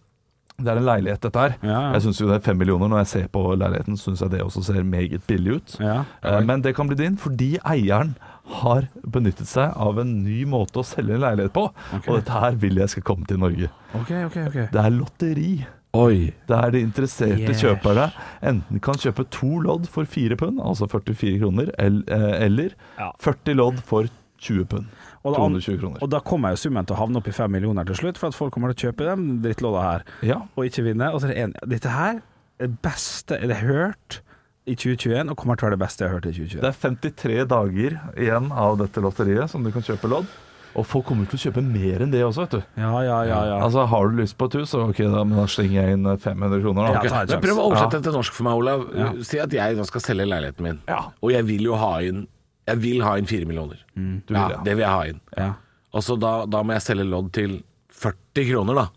S6: det er en leilighet, dette her.
S5: Ja,
S6: Jeg syns jo det er fem millioner. Når jeg ser på leiligheten, syns jeg det også ser meget billig ut.
S5: ja.
S6: Eh, Men det kan bli din fordi eieren har benyttet seg av en ny måte å selge en leilighet på. Og dette her vil jeg skal komme til Norge.
S5: Ok, ok, ok.
S6: Det er lotteri.
S3: Oi.
S6: Der de interesserte
S5: Yes.
S6: kjøperne enten kan kjøpe to lodd for fire pund, altså 44 kroner, el- eh, eller
S5: Ja.
S6: 40 lodd for 20 pund.
S5: Og da,
S6: 220 kroner.
S5: og da kommer jo summen til å havne opp i fem millioner til slutt, for at folk kommer til å kjøpe de drittlåda her,
S6: Ja.
S5: og ikke vinne. Og så er det en, dette her er det beste jeg har hørt i 2021, og kommer til å være det beste jeg har hørt i 2021.
S6: Det er 53 dager igjen av dette lotteriet som du kan kjøpe lodd. Og folk kommer til å kjøpe mer enn det også, vet du.
S5: Ja, ja, ja. ja.
S6: Altså, Har du lyst på et hus, så ok, da, men da slenger jeg inn eh, 500
S5: Ja,
S6: kroner. Da.
S5: ta en
S3: Men
S5: sjanse.
S3: prøv å oversette det til norsk for meg, Olav. Si at jeg nå skal selge leiligheten min,
S6: Ja.
S3: og jeg vil jo ha inn Jeg vil ha inn fire millioner.
S5: Mm,
S6: Du vil,
S3: Ja,
S6: ja.
S3: det vil jeg ha inn.
S5: Ja.
S3: Og så da, da må jeg selge lodd til 40 kroner, da.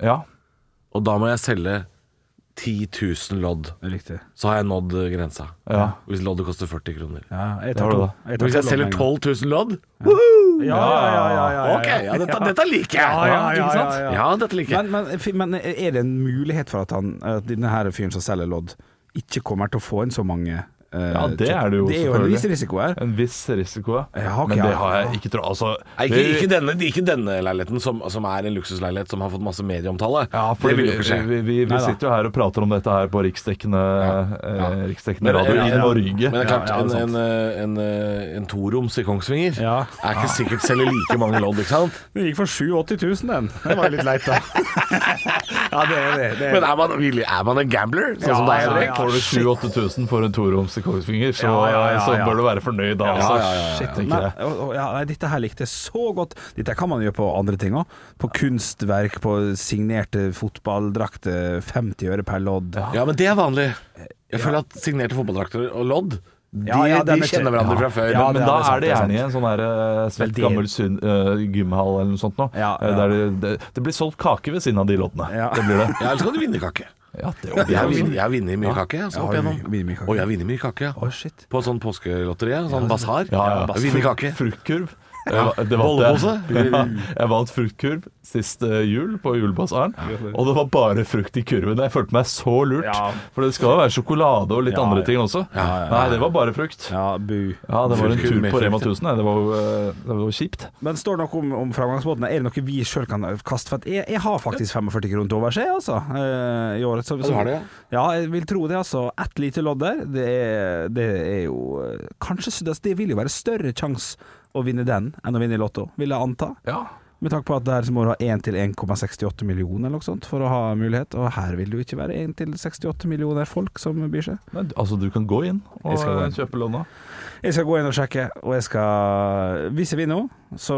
S6: ja.
S3: Og da må jeg selge 10 000 lodd.
S5: Det er riktig.
S3: Så har jeg nådd eh, grensa.
S6: ja.
S3: Hvis loddet koster 40 kroner.
S5: Ja, jeg
S6: Det
S5: tar
S6: har du
S5: to.
S6: da.
S5: Jeg
S3: Men
S5: tar
S3: Hvis jeg
S5: to
S3: selger
S5: lån med en
S3: 12
S5: gang.
S3: 000 lodd?
S5: Ja, ja, ja. ja, ja, ja.
S3: Ok, ja, dette, dette liker jeg!
S5: Ja, ja, ja,
S3: ikke sant?
S5: ja, ja.
S3: ja, dette liker jeg.
S5: Men, men, fi- men er det en mulighet for at, han, at denne her fyren som selger lodd, ikke kommer til å få inn så mange? eh,
S6: Ja, det er det jo
S5: Det er jo en
S6: selvfølgelig.
S5: viss risiko her.
S6: En viss risiko, ja.
S5: Ja, ok,
S6: men det
S5: ja.
S6: har jeg ikke tro altså,
S3: Nei, ikke, ikke, denne, ikke denne leiligheten, som, som er en luksusleilighet som har fått masse medieomtale.
S6: Ja, for
S3: det vil
S6: vi,
S3: jo ikke skje.
S6: vi, vi, vi
S5: Neida.
S6: sitter jo her og prater om dette her på riksdekkende,
S3: ja.
S6: eh, riksdekkende radio
S3: ja, ja.
S6: i Norge.
S3: Men det er klart,
S5: Ja, altså. ja, det
S6: sånn-
S5: er
S3: en, en, eh, en, eh, en toroms i Kongsvinger
S5: Ja.
S3: er ikke sikkert selger like mange lodd, ikke sant?
S5: Den gikk for 87 000, den. Det var litt leit, da. ja, det er det. det er.
S3: Men er man, villig- er man en gambler, sånn som deg, Henrik?
S6: Får du 7000-8000 for en toroms i Kongsvinger, så,
S5: Ja, ja, ja,
S6: så
S5: ja.
S6: bør du være fornøyd da. altså.
S3: ja, ja, ja, ja.
S6: Shit, tenker
S5: Nei,
S6: jeg.
S5: og- og- ja, nei, dette her likte jeg så godt. Dette kan man gjøre på andre ting òg. På kunstverk, på signerte fotballdrakter. 50 øre per lodd.
S3: Ja, men det er vanlig. Jeg føler at signerte fotballdrakter og lodd, de,
S5: Ja, ja, den
S3: de
S5: er
S3: kjenner
S5: kjent.
S3: hverandre
S5: Ja.
S3: fra før.
S5: Ja,
S3: men,
S6: Men
S5: det
S6: da
S5: er liksom sant,
S6: er det
S5: det er
S6: gjerne i en sånn her uh,
S5: Men
S6: svett
S5: det-
S6: gammel syn- eh, gymhall eller noe sånt nå.
S5: Ja,
S6: Eh,
S5: ja.
S6: Der det, det, det blir solgt kake ved siden av de loddene.
S5: Ja.
S6: Det blir det.
S3: ja, ellers kan du vinne kake.
S6: Ja, det
S3: Jeg har
S6: er
S3: vinn- jeg har vunnet mye kake. Altså, opp
S5: har
S3: igjennom.
S5: vunnet mye kake.
S3: Og jeg har vunnet mye kake. ja.
S5: Å, shit.
S3: På sånn påskelotteri, sånn basar.
S6: Ja, ja.
S3: Jeg vinner kake.
S6: Fruktkurv. Jeg, det vant
S9: Bollepose?
S6: jeg. Ja, jeg vant fruktkurv sist eh, jul på julebasaren, og det var bare frukt i kurven. Jeg følte meg så lurt,
S5: Ja.
S6: for det skal jo være sjokolade og litt
S5: Ja,
S6: andre
S5: ja.
S6: ting også.
S5: ja, ja.
S6: Nei, det var bare frukt.
S5: Ja, bu.
S6: Ja, det var en
S3: Fruktkurv
S6: tur
S3: med
S6: på Rema
S3: frukt,
S6: 1000. nei, Det var jo eh, det var jo kjipt.
S5: Men står det noe om, om framgangsmåten? Er det noe vi sjøl kan kaste? For at jeg, jeg har faktisk 45 kroner til overs, jeg, altså. eh, I året. Så, så,
S3: har det,
S5: ja, jeg vil tro det, altså. Ett lite lodd der, det er, det er jo eh, Kanskje så- det vil jo være større sjanse å vinne den enn å vinne i Lotto, vil jeg anta.
S6: Ja.
S5: Med tanke på at der så må du ha 1 til 1,68 millioner eller noe sånt for å ha mulighet, og her vil det jo ikke være 1 til 68 millioner folk som byr seg.
S6: Nei, altså, du kan gå inn og
S5: Jeg skal gå
S6: eh,
S5: inn.
S6: kjøpe låna.
S5: Jeg skal gå inn og sjekke, og jeg skal Hvis jeg vinner nå, så,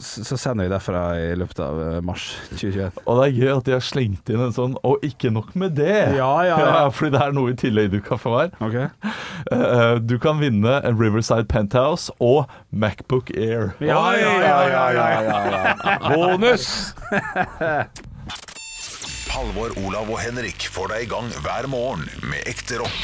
S5: så sender jeg derfra i løpet av eh, mars 2021.
S6: Og det er gøy at de har slengt inn en sånn 'og ikke nok med det'.
S5: Ja, ja, ja.
S6: fordi det er noe i tillegg du kan få her.
S5: Ok
S6: Eh, Du kan vinne en Riverside Penthouse og Macbook Air.
S5: Ja, ja, ja, ja,
S9: Bonus!
S1: Halvor, Olav og Henrik får deg i gang hver morgen med ekte rock.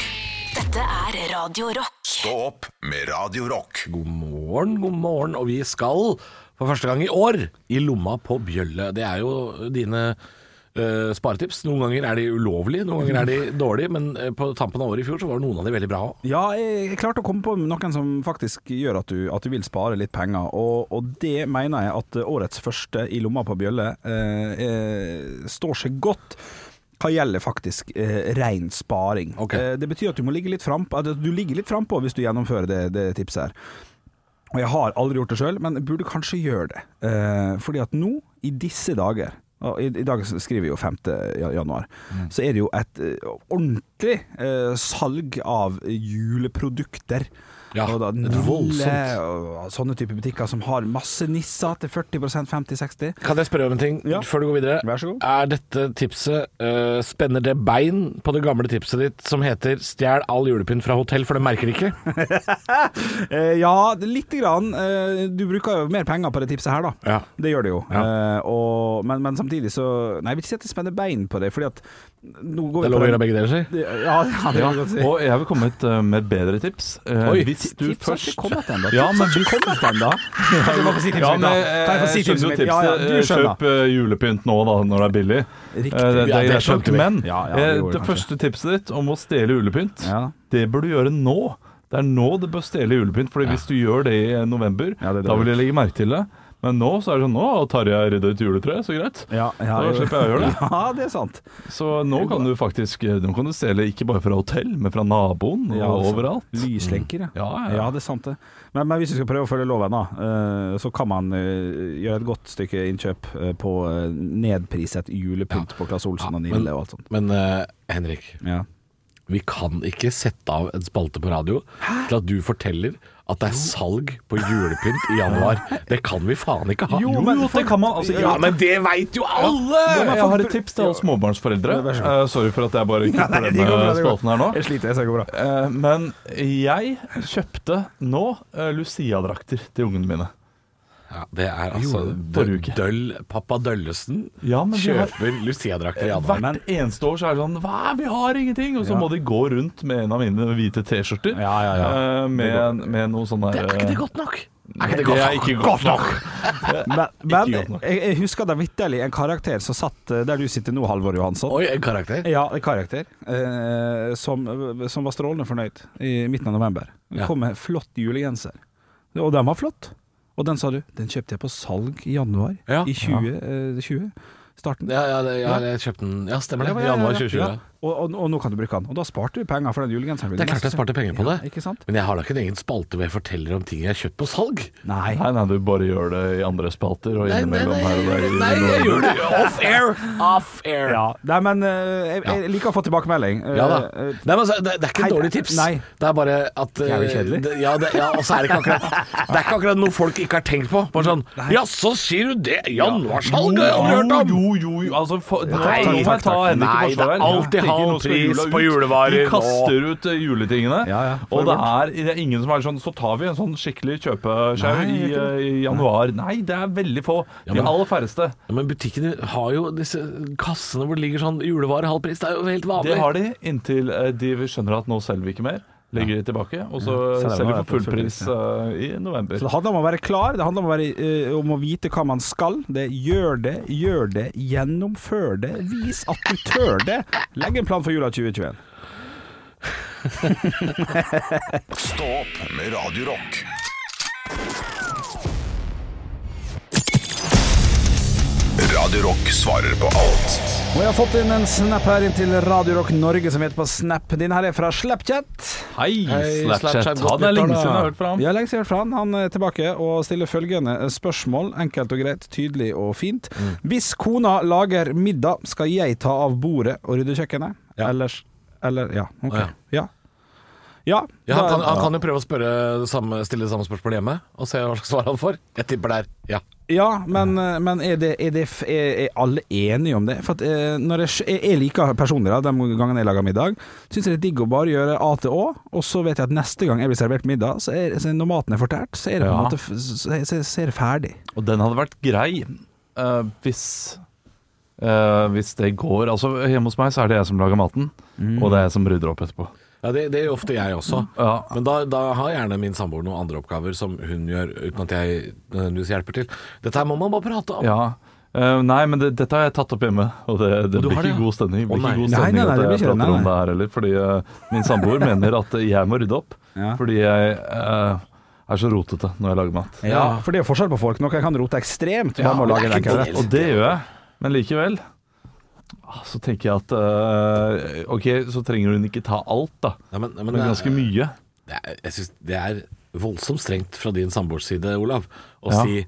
S2: Dette er Radio Rock.
S1: Stå opp med Radio Rock.
S3: God morgen, god morgen. Og vi skal for første gang i år i lomma på Bjølle. Det er jo dine eh, sparetips. Noen ganger er de ulovlige, noen ganger er de dårlige. Men eh, på tampen av året i fjor så var det noen av de veldig bra òg.
S5: jeg jeg klarte å komme på noen som faktisk gjør at du, at du vil spare litt penger, og, og det mener jeg at eh, årets første i lomma på bjølle eh, eh, står seg godt. Hva gjelder faktisk eh, ren sparing.
S3: Ok.
S5: Eh, det betyr at du må ligge litt frampå fram på hvis du gjennomfører det, det tipset her. Og jeg har aldri gjort det sjøl, men jeg burde kanskje gjøre det. Eh, fordi at nå, i disse dager og I, I dag skriver vi jo 5. ja- januar.
S3: Mm.
S5: Så er det jo et eh, ordentlig eh, salg av juleprodukter.
S3: Ja,
S5: og da,
S3: et
S5: nille,
S3: voldsomt.
S5: Og sånne type butikker som har masse nisser til 40 50-60.
S3: Kan jeg spørre om en ting
S5: Ja.
S3: før du går videre?
S5: Vær så god.
S3: Er dette tipset eh, Spenner det bein på det gamle tipset ditt som heter 'Stjel all julepynt fra hotell', for det merker de ikke?
S5: Eh, ja, det- lite grann. Eh, du bruker jo mer penger på det tipset her, da.
S3: Ja.
S5: Det gjør det jo. Eh, og, men, men samtidig så Nei, jeg vil ikke si at jeg spenner bein på det, fordi at nå går
S3: Det er
S5: vi
S3: lov
S5: på
S3: å
S5: den-
S3: gjøre begge deler, si.
S5: Ja, ja, det kan du godt si.
S6: Og jeg vil komme med et, eh, med et bedre tips. Eh,
S3: Oi,
S6: hvis du
S5: Tips har ikke
S6: først
S5: kommet ennå.
S6: Ja, men
S5: Tips har ikke
S6: hvis-
S5: kommet ennå. Kan jeg bare få si tipset
S6: Ja,
S5: mitt,
S6: men
S5: da?
S6: eh,
S5: Kan jeg få si
S6: jeg
S5: tipset
S6: skjønner jo
S5: mitt?
S6: tipset.
S5: Ja, ja, du
S6: Eh,
S5: skjønner.
S6: Kjøp eh, julepynt nå da, når det er billig.
S5: Riktig.
S6: Eh, det,
S3: Ja,
S6: det
S3: det
S6: er greit nok,
S3: skjønte vi.
S6: Men
S5: Ja, ja,
S6: eh,
S5: det gjorde
S6: det
S5: kanskje.
S6: første tipset ditt om å stjele julepynt,
S5: Ja.
S6: det bør du gjøre nå. Det er nå du bør stjele julepynt, Fordi hvis du gjør det i eh, november,
S5: Ja, det er
S6: da
S5: dårlig.
S6: vil jeg legge merke til det. Men nå så er det sånn Nå har Tarjei rydda ut juletreet, så greit.
S5: Ja, ja,
S6: Da
S5: jo.
S6: slipper jeg å gjøre det.
S5: Ja, det er sant.
S6: Så nå kan du faktisk eh, Nå kan du stjele ikke bare fra hotell, men fra naboen
S5: Ja,
S6: og
S5: altså,
S6: overalt. Mm.
S5: Lyslenker, ja.
S6: Ja, ja, ja.
S5: Ja, det er sant det. Men, men hvis vi skal prøve å følge loven, da, eh, så kan man eh, gjøre et godt stykke innkjøp eh, på eh, nedpriset julepynt på Claes Olsen og Nille og alt sånt.
S3: Men eh, Henrik,
S5: Ja.
S3: vi kan ikke sette av en spalte på radio til at du forteller at det er salg på julepynt i januar. Det kan vi faen ikke ha.
S6: Jo, men det kan man altså
S3: ja, men det veit jo alle!
S6: Jeg har et tips til alle småbarnsforeldre. Eh, sorry for at jeg bare klipper
S5: Nei, det går bra,
S6: denne
S5: det går
S6: spalten her nå.
S5: Jeg sliter, jeg skal gå bra.
S6: Eh, men jeg kjøpte nå eh, Lucia-drakter til ungene mine.
S3: Ja, det er altså
S6: Gjorde det forrige
S3: døll,
S6: uke.
S3: Pappa Døllesen
S6: Ja, men de har-
S3: kjøper Lucia-drakter i januar.
S6: Hvert eneste år så er det sånn Hva, vi har ingenting! Og så
S5: Ja.
S6: må de gå rundt med en av mine hvite T-skjorter.
S5: Ja, ja, ja.
S6: eh, med, med noe sånn der
S3: Er ikke det
S6: eh,
S3: godt nok? Er ikke det
S6: Det
S3: godt
S6: er
S3: nok?
S6: ikke godt nok!
S5: Men, men
S6: godt nok.
S5: jeg, jeg husker da vitterlig en karakter som satt eh, der du sitter nå, Halvor Johansson.
S3: Oi, en karakter.
S5: Ja, en karakter eh, som, som var strålende fornøyd i midten av november. Hun
S3: Ja.
S5: kom med flott julegenser, og den var flott. Og den sa du, den kjøpte jeg på salg i januar
S3: Ja.
S5: i 2020. starten.
S3: Ja, ja, det, ja, jeg kjøpte den Ja, stemmer det.
S5: Ja, ja, ja,
S3: Januar
S5: ja.
S3: 2020.
S5: Ja. Og, og, og nå kan du bruke den. Og da sparte du penger for den julegenseren.
S3: Det er klart jeg sparte penger på det.
S5: Ja, ikke sant?
S3: Men jeg har da ikke en egen spalte hvor jeg forteller om ting jeg har kjøpt på salg.
S5: Nei.
S6: Nei, nei, du bare gjør det i andre spalter og
S3: Nei, nei,
S6: innimellom
S3: nei,
S6: her og der.
S3: nei, jeg gjør det off air! Off air.
S5: Ja. Nei, men eh, jeg, jeg liker å få tilbakemelding. Eh,
S3: Ja da.
S5: eh,
S3: Nei, men, altså, det, det er ikke
S5: Hei,
S3: et dårlig tips.
S5: nei.
S3: Det er bare at eh,
S5: Jævlig kjedelig.
S3: Det, ja, det, ja, og så er det, ikke akkurat, det er ikke akkurat noe folk ikke har tenkt på. Bare sånn Jaså, sier du det? Januarsalg har jeg aldri hørt om!
S6: Jo, jo, jo, altså for, Nei,
S3: takk,
S6: nå må jeg
S3: takk,
S6: ta
S3: takk.
S6: Henrik i
S3: Nei, det er
S6: forsvar.
S3: alltid
S6: Tenker,
S3: halv
S6: nå skal
S3: pris
S6: jula ut.
S3: på julevarer
S6: De
S3: nå.
S6: kaster ut eh, juletingene.
S5: Ja, ja, for
S6: og det er, det er ingen som er sånn Så tar vi en sånn skikkelig kjøpeskjau i, eh, i januar. Nei, det er veldig få. De aller færreste.
S3: Ja, men butikkene har jo disse kassene hvor det ligger sånn julevarer halv pris. Det er jo helt vanlig.
S6: Det har de inntil eh, de skjønner at nå selger vi ikke mer. legger de tilbake, og så
S5: Ja, selger
S6: selger
S5: man
S6: de for
S5: på full
S6: full pris
S5: pris,
S6: eh, i november.
S5: Så det handler om å være klar, det handler om å, være, eh, om å vite hva man skal. Det er gjør det, gjør det, gjennomfør det, vis at du tør det. Legg en plan for jula 2021.
S1: Stå opp med Radio Rock. Radio Rock svarer på alt.
S5: Og jeg har fått inn en snap her inn til Radio Rock Norge som heter på Snap. Din her er fra Snapchat.
S6: Hei, Snapchat.
S3: Snapchat, godt
S6: Han er lenge
S3: nyttår, da.
S6: siden jeg har hørt fra ham.
S5: Ja, lenge siden jeg har hørt fra han. Han er tilbake og stiller følgende eh, spørsmål, enkelt og greit, tydelig og fint. Hvis kona lager middag, skal jeg ta av bordet og rydde kjøkkenet?
S3: Ja.
S5: Ellers Eller Ja. Ok.
S3: Å,
S5: Ja. Ja,
S3: Ja, han,
S5: da-
S3: kan, han kan jo prøve å spørre det samme, stille det samme spørsmålet hjemme, og se hva slags svar han får. Jeg tipper der. Ja.
S5: Ja, men, men er, det, er, det, er, er alle enige om det? For at, eh, når jeg, jeg- jeg liker personlig da, de gangene jeg lager middag, syns jeg det er digg å bare gjøre A til Å, og så vet jeg at neste gang jeg blir servert middag, så er, så når maten er fortært, så er det på en
S6: Ja.
S5: måte f- så er, så er det ferdig.
S6: Og den hadde vært grei eh, hvis eh, Hvis det går. Altså, hjemme hos meg så er det jeg som lager maten, og det er jeg som rydder opp etterpå.
S3: Ja, det, det gjør ofte jeg også.
S6: Ja.
S3: Men da, da har gjerne min samboer noen andre oppgaver som hun gjør, uten at jeg nødvendigvis hjelper til. Dette her må man bare prate om.
S6: Ja. Eh, nei, men det, dette har jeg tatt opp hjemme, og det, det
S3: du
S6: blir
S3: har det,
S6: ikke
S3: ja.
S6: god stemning. Det
S3: Å,
S6: blir
S3: nei.
S6: ikke god
S5: Nei, nei,
S6: stemning
S5: nei,
S6: at
S5: det
S6: jeg
S5: blir ikke det,
S6: prater om
S5: nei,
S6: det her heller, fordi eh, min samboer mener at jeg må rydde opp.
S5: Ja.
S6: Fordi jeg eh, er så rotete når jeg lager mat.
S5: Ja, for det er jo forskjell på folk. Noen kan rote ekstremt. Ja,
S3: men
S5: lage
S3: det er
S5: en
S3: ikke
S5: enkel
S3: det.
S5: rett.
S6: Og det gjør jeg, men likevel ah, så tenker jeg at eh, OK, så trenger hun ikke ta alt, da.
S3: Nei, men, men, eh,
S6: Men ganske mye.
S3: Det er, jeg synes det er voldsomt strengt fra din samboers side, Olav, å
S6: Ja.
S3: si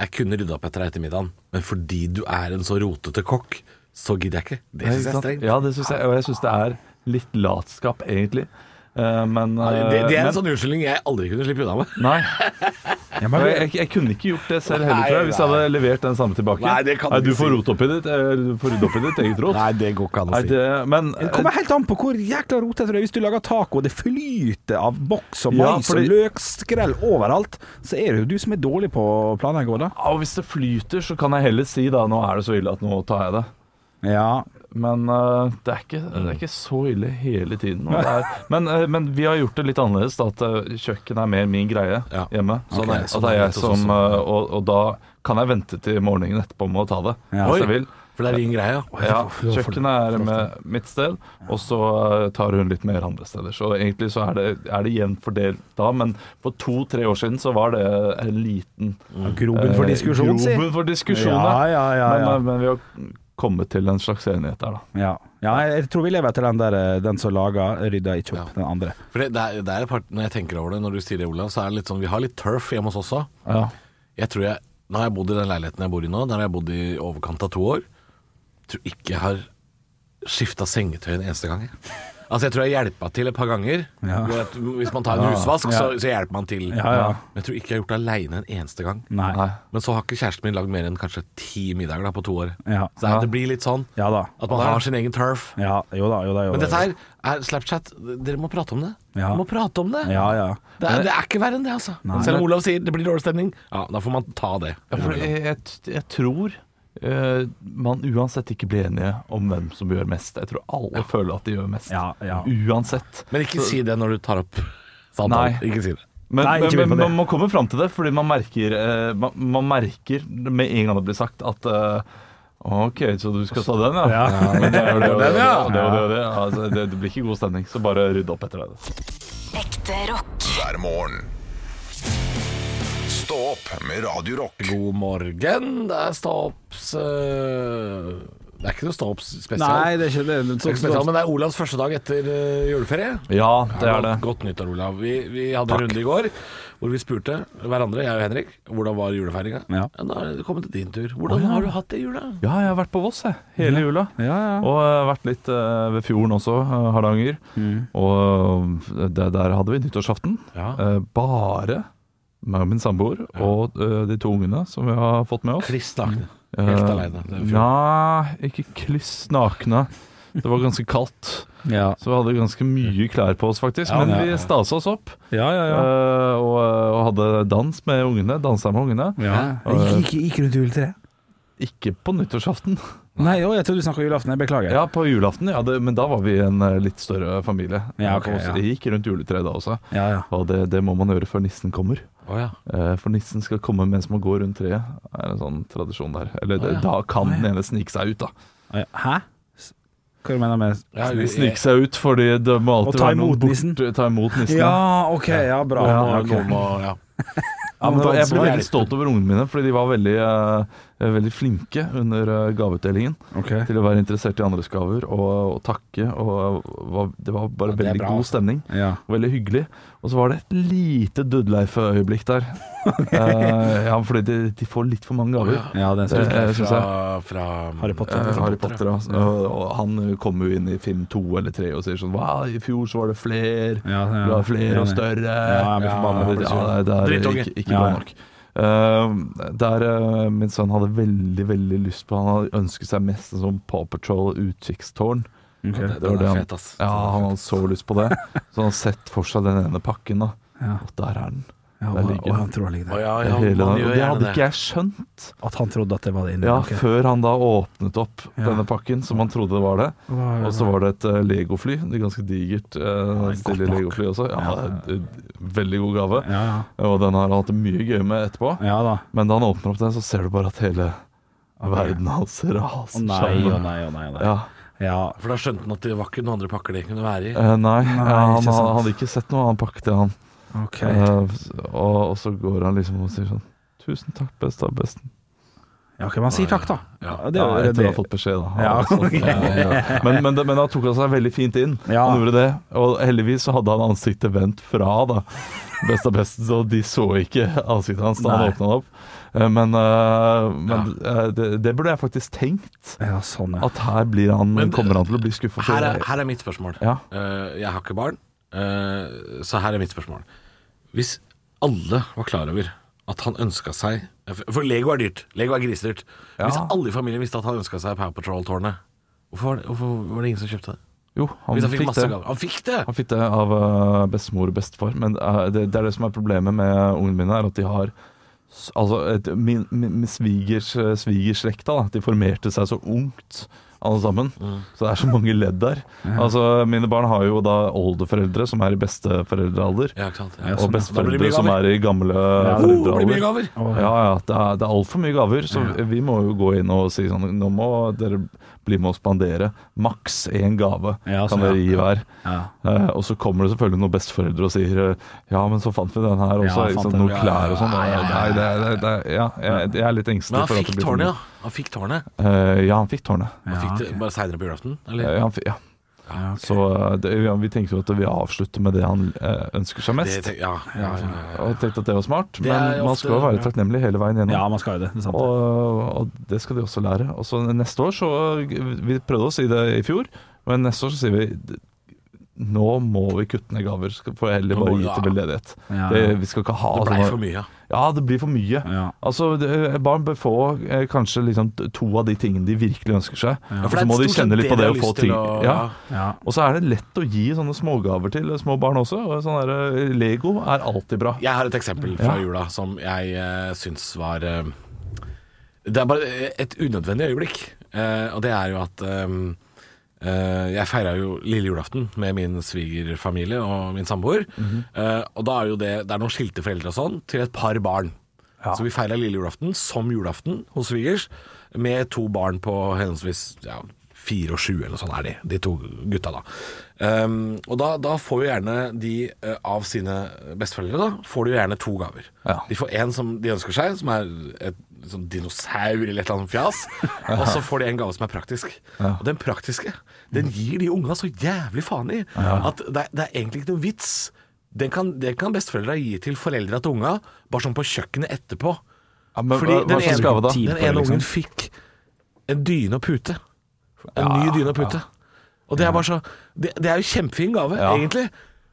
S3: jeg kunne rydda opp etter deg etter middagen, men fordi du er en så rotete kokk, så gidder jeg ikke. Det syns jeg er
S6: Ikke sant?
S3: strengt.
S6: Ja, det synes jeg, og jeg syns det er litt latskap, egentlig. Eh, men
S3: Nei, Det, det er
S6: eh,
S3: en sånn unnskyldning jeg aldri kunne slippe unna med.
S6: men- Nei. Og jeg, jeg, jeg kunne ikke gjort det selv heller, tror jeg, hvis jeg hadde levert den samme tilbake.
S3: Nei, det kan du
S6: du
S3: ikke
S6: får
S3: si.
S6: rote opp i ditt, eh, du får rydde opp i ditt eget rot.
S3: det går ikke an
S6: Nei, det, men eh,
S5: Det kommer helt an på hvor jækla rotete det er. Hvis du lager taco, og det flyter av boks og
S6: Ja,
S5: mais
S6: fordi-
S5: og løkskrell overalt, så er det jo du som er dårlig på å planlegge òg, da.
S6: ja, og hvis det flyter, så kan jeg heller si da nå er det så ille at nå tar jeg det.
S5: Ja.
S6: Men eh, det, er ikke, det er ikke så ille hele tiden. og Det er, men, eh, men vi har gjort det litt annerledes, da, at eh, kjøkken er mer min greie
S3: Ja.
S6: hjemme.
S3: Sånn er- sånn
S6: at det er
S3: er
S6: jeg
S3: det også,
S6: som,
S3: sånn er
S6: eh, og, og da kan jeg vente til morgenen etterpå med å ta det,
S5: Ja.
S6: hvis
S3: Oi.
S6: jeg vil.
S3: For det er din greie, ja.
S6: Ja, kjøkkenet er med mitt sted, og så eh, tar hun litt mer andre steder. Så egentlig så er det, er det jevnt fordelt da, men for to-tre år siden så var det en liten
S5: Grobunn for
S6: eh,
S5: diskusjon, si.
S6: grobunn for diskusjon,
S5: Ja, ja, ja, ja.
S6: Men, eh, men vi har kommet til en slags enighet der, da.
S5: Ja. ja, jeg tror vi lever etter den der eh, Den som lager, rydder ikke opp den andre.
S3: For det, det er, det er et par, når jeg tenker over det, når du sier det, Olav, så er det litt sånn Vi har litt turf hjemme hos oss også.
S6: Ja.
S3: Jeg tror jeg Nå har jeg bodd i den leiligheten jeg bor i nå. Der har jeg bodd i overkant av to år. Tror ikke jeg har skifta sengetøy en eneste gang. jeg. Altså Jeg tror jeg hjelpa til et par ganger.
S5: Ja.
S3: Du vet, Hvis man tar en husvask, så, så hjelper man til.
S5: Ja, ja.
S3: Men jeg tror ikke jeg har gjort det aleine en eneste gang.
S5: Nei.
S6: Nei.
S3: Men så har ikke kjæresten min lagd mer enn kanskje ti middager da på to år.
S5: Ja.
S3: Så det, det blir litt sånn
S5: Ja da.
S3: at man har sin egen turf.
S5: Ja, jo da, jo da. Jo
S3: Men
S5: da,
S3: dette her er Snapchat. Dere må prate om det.
S5: Ja.
S3: Dere må prate om det.
S5: Ja, ja.
S3: Det, er, det er ikke verre enn det, altså. Selv om Olav sier det blir dårlig stemning, ja, da får man ta det.
S6: Ja, for jeg, jeg, jeg tror eh, man uansett ikke blir enige om hvem som gjør mest. Jeg tror alle føler at de gjør mest.
S5: Ja, ja.
S6: Uansett.
S3: Men ikke si det når du tar opp
S6: Nei.
S3: samtalen. Ikke si det.
S6: Men,
S5: Nei, ikke
S6: men,
S5: begynn på
S6: men
S5: det.
S6: man må komme fram til det, fordi man merker, eh, man, man merker med en gang det blir sagt at eh, OK, så du skal ta den, ja?
S5: Ja.
S6: Men det, er jo det, og det, og det,
S3: ja.
S6: og det, og det, og det. Altså, det, det blir ikke god stemning, så bare rydd opp etter deg.
S2: Ekte rock.
S1: hver morgen. Stå opp med Radio Rock.
S3: God morgen, det er stå-opps øh, Det er ikke noe stå-opps
S5: Nei,
S3: spesial.
S5: det er ikke det.
S3: Det er
S5: det er
S3: ikke
S5: sånn-
S3: spesial, men det er Olavs første dag etter øh, juleferie.
S6: Ja, det er det.
S3: Godt, godt nyttår, Olav. Vi, vi hadde en runde i går hvor vi spurte hverandre, jeg og Henrik, hvordan var julefeiringa.
S5: Ja.
S3: Nå er det kommet til din tur. Hvordan har du hatt det i jula?
S6: Ja, jeg har vært på Voss jeg, hele jula.
S5: Ja, ja.
S6: Og eh, vært litt eh, ved fjorden også, eh, Hardanger.
S3: Mm.
S6: Og eh, det, der hadde vi nyttårsaften.
S3: Ja.
S6: Eh, bare meg og min samboer og eh, de to ungene som vi har fått med oss.
S3: Kliss nakne. Helt
S6: Eh,
S3: aleine.
S6: Nei, ikke kliss nakne. Det var ganske kaldt,
S5: Ja.
S6: så vi hadde ganske mye klær på oss, faktisk.
S3: Ja,
S6: Men
S3: ja, ja.
S6: vi stasa oss opp
S5: Ja, ja, ja.
S6: eh, og, og hadde dans med ungene. Dansa med ungene.
S5: ja.
S6: Eh,
S5: Gikk, gikk rundt juletreet.
S6: ikke på nyttårsaften.
S5: Nei, å, jeg trodde du snakka julaften. Jeg beklager.
S6: Ja, på julaften, ja, det, men da var vi en eh, litt større familie.
S5: Ja, ok,
S6: Og så-
S5: ja.
S6: Det gikk rundt juletreet da også.
S5: Ja, ja.
S6: Og det, det må man gjøre før nissen kommer.
S3: Å ja.
S6: Eh, For nissen skal komme mens man går rundt treet. Det er en sånn tradisjon der. Eller det,
S3: Å, ja.
S6: da kan den ene snike seg ut, da.
S5: Ja, Eh, Hæ? S- Hva du mener du med
S3: Ja,
S6: De
S3: jeg-
S6: sniker seg ut fordi det må alltid
S5: ta
S6: være noen
S5: imot nissen.
S6: borte- Ta imot nissen.
S5: Ja, OK. Ja, bra.
S6: Ja,
S5: Nå-
S3: Ja,
S5: ok.
S3: noen må- ja.
S6: Ja, men det var- jeg ble
S3: ansvar.
S6: veldig stolt over ungene mine, fordi de var veldig, eh, veldig flinke under eh, gaveutdelingen
S5: Ok.
S6: til å være interessert i andres gaver og, og takke. Og var, det var bare
S3: Ja, det er
S6: veldig
S3: bra,
S6: god
S3: altså.
S6: stemning.
S5: Ja.
S6: Veldig hyggelig. Og så var det et lite Dudleif-øyeblikk der. Eh, ja, fordi de, de får litt for mange gaver.
S5: ja, den
S6: Det-
S5: skal
S6: eh, synes jeg.
S3: Fra, fra
S5: Harry Potter. liksom.
S6: Eh, Harry Potter, ja. Og, og han kommer jo inn i film to eller tre og sier sånn Wow, i fjor så var det fler.
S5: Ja, ja.
S6: Det var flere og
S5: Enig.
S6: større.
S5: Ja, jeg blir forbanna.
S6: Ja,
S5: Jeg blir sur.
S6: det- det er
S3: Drittunge.
S6: Ikke, ikke
S5: Ja,
S6: bra
S5: ja.
S6: nok. Eh, der eh, min sønn hadde veldig veldig lyst på Han hadde ønsket seg mest en sånn Paw Patrol utkikkstårn.
S5: Ok.
S3: Den
S6: det
S3: er
S6: han-
S3: fet, ass.
S6: Ja, han hadde så lyst på det. Så han har sett for seg den ene pakken, da.
S5: Ja.
S6: Og der er den.
S5: Ja,
S6: Der
S5: og-
S6: ligger
S5: og
S6: den.
S5: han tror han ligger
S3: Å
S5: der.
S3: ja, ja, man
S6: Hele den.
S3: gjør
S6: Og det
S3: gjerne
S6: hadde
S3: det.
S6: ikke jeg skjønt
S5: At han trodde at det var det inni.
S6: ja,
S5: ok.
S6: før han da åpnet opp
S5: Ja.
S6: denne pakken, som han trodde det var det.
S5: Hva-
S6: Og så var det et eh, legofly. Det er ganske digert. Uh,
S5: godt
S6: stille
S5: nok.
S6: legofly også. Ja,
S5: Ja.
S6: det er et Veldig god gave.
S5: Ja, ja.
S6: Og den har han hatt det mye gøy med etterpå.
S5: ja da.
S6: Men da han åpner opp den, så ser du bare at hele verden hans raser
S5: Å nei, å nei, å nei. Å nei.
S6: Ja.
S5: Sånn. Ja.
S3: For da skjønte han at det var ikke noen andre pakker det kunne være i.
S6: Eh, nei, ja,
S5: ikke
S6: han, han
S5: sant.
S6: hadde ikke sett noe annen pakke til han.
S5: OK.
S6: Eh, og, og så går han liksom og sier sånn Tusen takk, best av besten.
S5: Ja, ok, man sier takk, da.
S3: Ja.
S5: Ja, det
S6: Ja,
S5: er jo
S6: etter å ha
S5: det.
S6: fått beskjed, da. Han
S5: Ja,
S6: hadde sånn, eh, ja. Men, men, det- men han tok han seg veldig fint inn.
S5: Ja.
S6: Han gjorde det. Og heldigvis så hadde han ansiktet vendt fra, da. Best av besten, så de så ikke ansiktet hans da
S5: Nei.
S6: han åpna det opp. Eh, Men, eh, men eh, det, det burde jeg faktisk tenkt.
S5: Ja, sånn, ja.
S6: At her blir han,
S3: Men-
S6: kommer han til å bli skuffa.
S3: Her er, her er mitt spørsmål.
S6: Ja.
S3: Eh, jeg har ikke barn, eh, så her er mitt spørsmål. Hvis alle var klar over at han ønska seg For Lego er dyrt. Lego er grisedyrt. Hvis alle i familien visste at han ønska seg Power Patrol-tårnet, hvorfor, var det- hvorfor var det ingen som kjøpte det?
S6: Jo, han
S3: Hvis han
S6: fikk,
S3: fikk masse
S6: det.
S3: gaver. Han fikk det!
S6: Han fikk det av eh, bestemor og bestefar. Men eh, det, det er det som er problemet med ungene mine, er at de har s- Altså, et, min, min, min svigers eh, svigerslekta, da, de formerte seg så ungt. Alle sammen.
S3: Mm.
S6: Så det er så mange ledd der. Altså, Mine barn har jo da oldeforeldre som er i besteforeldrealder.
S3: Ja, ikke sant? Ja.
S5: Ja,
S6: Og
S5: sånn, ja.
S3: Da blir det
S6: besteforeldre
S3: mye
S6: som
S3: gaver.
S6: er i gamle
S3: Oh, det blir mye
S6: foreldrealder.
S3: gaver!
S6: Ja, ja. Det er, det er altfor mye gaver, så vi må jo gå inn og si sånn Nå må dere bli med og spandere. Maks én gave
S5: Ja, så-
S6: kan dere gi hver.
S5: Ja.
S6: Eh, og så kommer det selvfølgelig noen besteforeldre og sier eh, Ja, men så fant vi den
S5: Ja,
S6: her også.
S5: jeg
S6: ikke
S5: fant
S6: sant?
S5: den.
S6: Noen klær og sånn.
S3: Ja, ja, ja,
S6: Nei, det, det, det, ja, jeg, jeg er litt
S3: Men
S6: engstelig
S3: han
S6: for at
S3: fikk
S6: det blir for
S3: tårnet, ja.
S6: mye.
S3: Han fikk tårnet.
S6: Eh, ja, han fikk tårnet.
S3: Han
S5: Ja,
S3: fikk det bare seinere på julaften, eller?
S6: Eh, ja, han fikk, ja.
S5: Ja, ok.
S6: Så eh, det, ja, vi tenkte jo at vi avslutter med det han eh, ønsker seg
S3: Det,
S6: mest.
S3: tenk- ja, ja, ja, ja.
S6: Og tenkte at det var smart,
S3: Det er
S6: men man
S3: ofte-
S6: skal jo være takknemlig hele veien gjennom.
S5: Ja, man skal jo det. det er sant.
S6: Og, og det skal de også lære. Og så neste år så Vi prøvde å si det i fjor, men neste år så sier vi nå må vi kutte ned gaver, skal- for heller
S3: Nå må
S6: bare
S3: vi-
S6: gi til veldedighet.
S5: Ja.
S6: Det, vi skal ikke ha
S3: Det blei
S6: sånne-
S3: for mye, ja.
S6: Ja, det blir for mye.
S5: Ja.
S6: Altså, det, Barn bør få eh, kanskje liksom t- to av de tingene de virkelig ønsker seg.
S3: Ja,
S6: Og så må de
S3: stort sett
S6: kjenne litt på
S3: dere har
S6: det å få
S3: lyst til
S6: ting.
S3: å-
S6: ja.
S5: Ja.
S6: Og så er det lett å gi sånne smågaver til eh, små barn også. Og sånn der, eh, Lego er alltid bra.
S3: Jeg har et eksempel fra
S6: Ja.
S3: jula som jeg uh, syns var eh, Det er bare et unødvendig øyeblikk. Eh, og det er jo at eh, eh, jeg feira jo lille julaften med min svigerfamilie og min samboer. Eh, og da er jo det Det er noen skilte foreldre og sånn til et par barn. Så vi feira lille julaften som julaften hos svigers med to barn på henholdsvis ja, fire og sju, eller noe sånt er de, de to gutta da. Um, og da, da får jo gjerne de eh, av sine besteforeldre da, får de jo gjerne to gaver.
S6: Ja.
S3: De får en som de ønsker seg, som er et sånn dinosaur eller et eller annet fjas, og så får de en gave som er praktisk. Og den praktiske, den gir de unga så jævlig faen i, at det, er- det er egentlig ikke noen vits. Den kan, den kan besteforeldre gi til foreldre til unga, bare sånn på kjøkkenet etterpå.
S6: Ja, men
S3: Fordi
S6: hva, hva
S3: den
S6: slags
S3: ene,
S6: gave da?
S3: den ene ungen fikk en dyne og pute. En ny dyne og pute. Og det er bare så det, det er jo kjempefin gave, egentlig.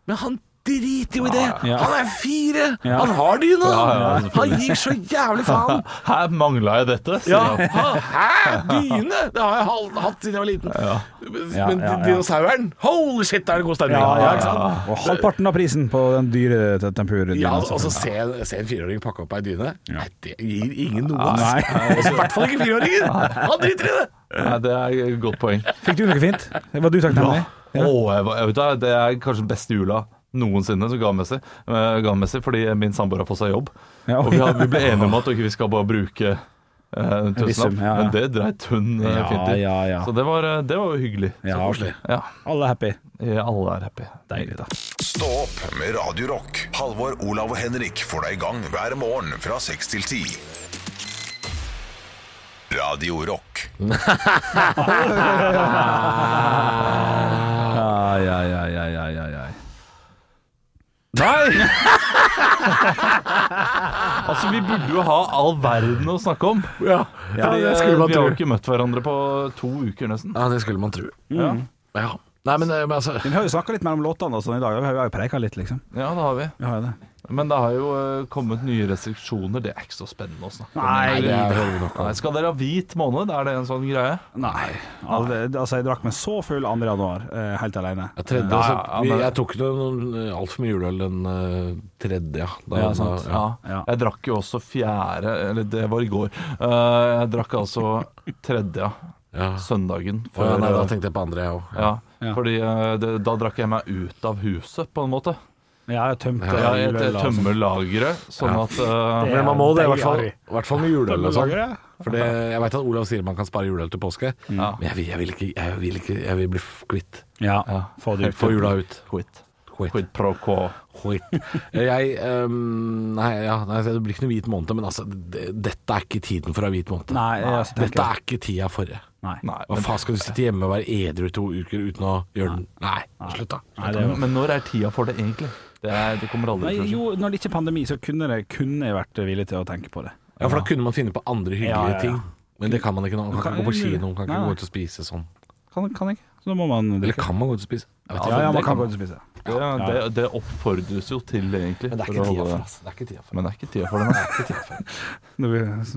S3: Men han driter jo i det!
S5: Ja.
S3: Han er fire! Han har dyna!
S6: ja,
S3: han gir så jævlig faen!
S6: Her mangla jeg dette. sier
S3: Ja,
S6: han.
S3: ha- hæ? Dyne? Det har jeg hal- hatt siden jeg var liten.
S5: Ja,
S3: Men
S5: ja, ja.
S3: dinosauren? Holy shit, da er det god stemning!
S5: Ja, ja,
S3: ikke sant?
S5: Og halvparten av prisen på den dyre te- altså. tempurdyna.
S3: Ja, og så se, se en fireåring pakke opp ei dyne. Nei, det gir ingen noe.
S5: Ja,
S3: ass. Altså, I hvert fall ikke fireåringen! Han driter i det!
S6: Nei, det er et godt poeng.
S5: Fikk du noe fint? Var du takknemlig?
S6: Ja. Åh, jeg, var- jeg vet da, det er kanskje den beste jula noensinne så gavmessig, eh, gavmessig fordi min samboer har fått seg jobb.
S5: Ja,
S6: Og vi, har, vi ble enige om at ok, vi skal bare bruke eh, en
S5: viss sum,
S6: tusenlapp,
S5: ja, ja.
S6: men det dreit hun eh,
S5: Ja,
S6: fint i.
S5: ja, ja.
S6: Så det var, eh, det var jo hyggelig.
S5: Ja, koselig.
S6: Ja,
S5: Alle er happy.
S6: ja, alle er happy.
S5: Deilig, da.
S1: Stå opp med Radio Rock. Halvor, Olav og Henrik får deg i gang hver morgen fra 6 til 10. Radio Rock.
S5: Ai, ai, ai, ai, ai, ai, ai.
S6: Nei! altså, vi burde jo ha all verden å snakke om.
S3: Ja,
S6: Fordi,
S3: det
S6: eh,
S3: skulle man
S6: vi har
S3: tro.
S6: jo ikke møtt hverandre på to uker nesten.
S3: Ja, det skulle man tro.
S6: Ja,
S3: Ja. Nei, men, eh, men altså
S5: Men Vi har jo snakka litt mellom låtene og sånn i dag. Vi har jo preika litt, liksom.
S6: ja det har vi.
S5: Vi har jo det.
S6: Men det har jo eh, kommet nye restriksjoner. Det er ikke så spennende å snakke om.
S5: Nei,
S3: det hører vi nok
S6: Nei, skal dere ha hvit måned? Er det en sånn greie?
S5: Nei. Altså, det- altså, jeg drakk meg så full 2. januar, eh, helt alene.
S3: Ja, tredje,
S6: Ja,
S3: altså,
S6: ja,
S3: vi,
S6: men-
S3: jeg tok ikke noe altfor mye juleøl den eh, tredje, ja. Da,
S5: Ja, sant.
S3: Ja.
S5: Ja.
S6: Jeg drakk jo også fjerde Eller det var i går. Eh, jeg drakk altså tredje
S3: Ja.
S6: søndagen
S3: Å, ja,
S6: før
S3: nei, da
S6: eh,
S3: tenkte jeg på andre, jeg òg.
S6: ja,
S5: Ja.
S6: fordi eh, det, da drakk jeg meg ut av huset, på en måte.
S5: Jeg har tømt eh,
S6: Jeg, jeg,
S5: juleøl og sånn.
S6: tømmer lageret, sånn
S3: Ja.
S6: at eh,
S3: Men man må det, i hvert fall,
S5: Deilig.
S3: i hvert fall med juleøl og sånn.
S5: Tømmerlageret?
S3: For det, jeg veit at Olav sier man kan spare juleøl til påske,
S6: Ja.
S3: men jeg vil, jeg vil ikke Jeg vil, ikke, jeg vil bli f- kvitt.
S5: Ja, få det ut.
S3: Få jula ut.
S6: Quit.
S3: Quit.
S6: Quit pro quo.
S3: Oi. Jeg ehm, Nei, ja, nei, det blir ikke noe hvit måned, men altså, det, dette er ikke tiden for å ha hvit måned.
S5: Nei, jeg- altså, tenker-
S3: dette er ikke tida for det.
S5: Nei.
S6: Nei,
S3: Hva
S6: men,
S3: faen skal du sitte hjemme og være edru i to uker uten å gjøre den Nei, slutt, da.
S5: Nei, det var...
S6: men når er tida for det, egentlig? Det, er, det kommer aldri
S5: Nei,
S6: til å skje.
S5: jo, når det ikke er pandemi, så kunne, det, kunne jeg vært villig til å tenke på det.
S3: Ja, for da kunne man finne på andre hyggelige
S5: Ja, ja, ja.
S3: ting. Men det kan man ikke nå. Man kan
S5: Kan-
S3: ikke gå på kino, man kan
S5: Nei,
S3: ikke
S5: nei.
S3: gå ut og spise sånn.
S5: Kan, kan jeg? Så da må man
S3: Eller kan man gå ut og spise? Jeg vet
S5: Ja, ja,
S6: det
S5: man
S6: kan
S5: kan gå ut og spise.
S6: Det, det, det oppfordres jo til, egentlig.
S3: Men det er
S6: for
S3: ikke
S6: å
S3: tida
S6: holde-
S3: for det. Det er ikke tida for
S6: Men det er ikke tida for det. nei.
S5: Nå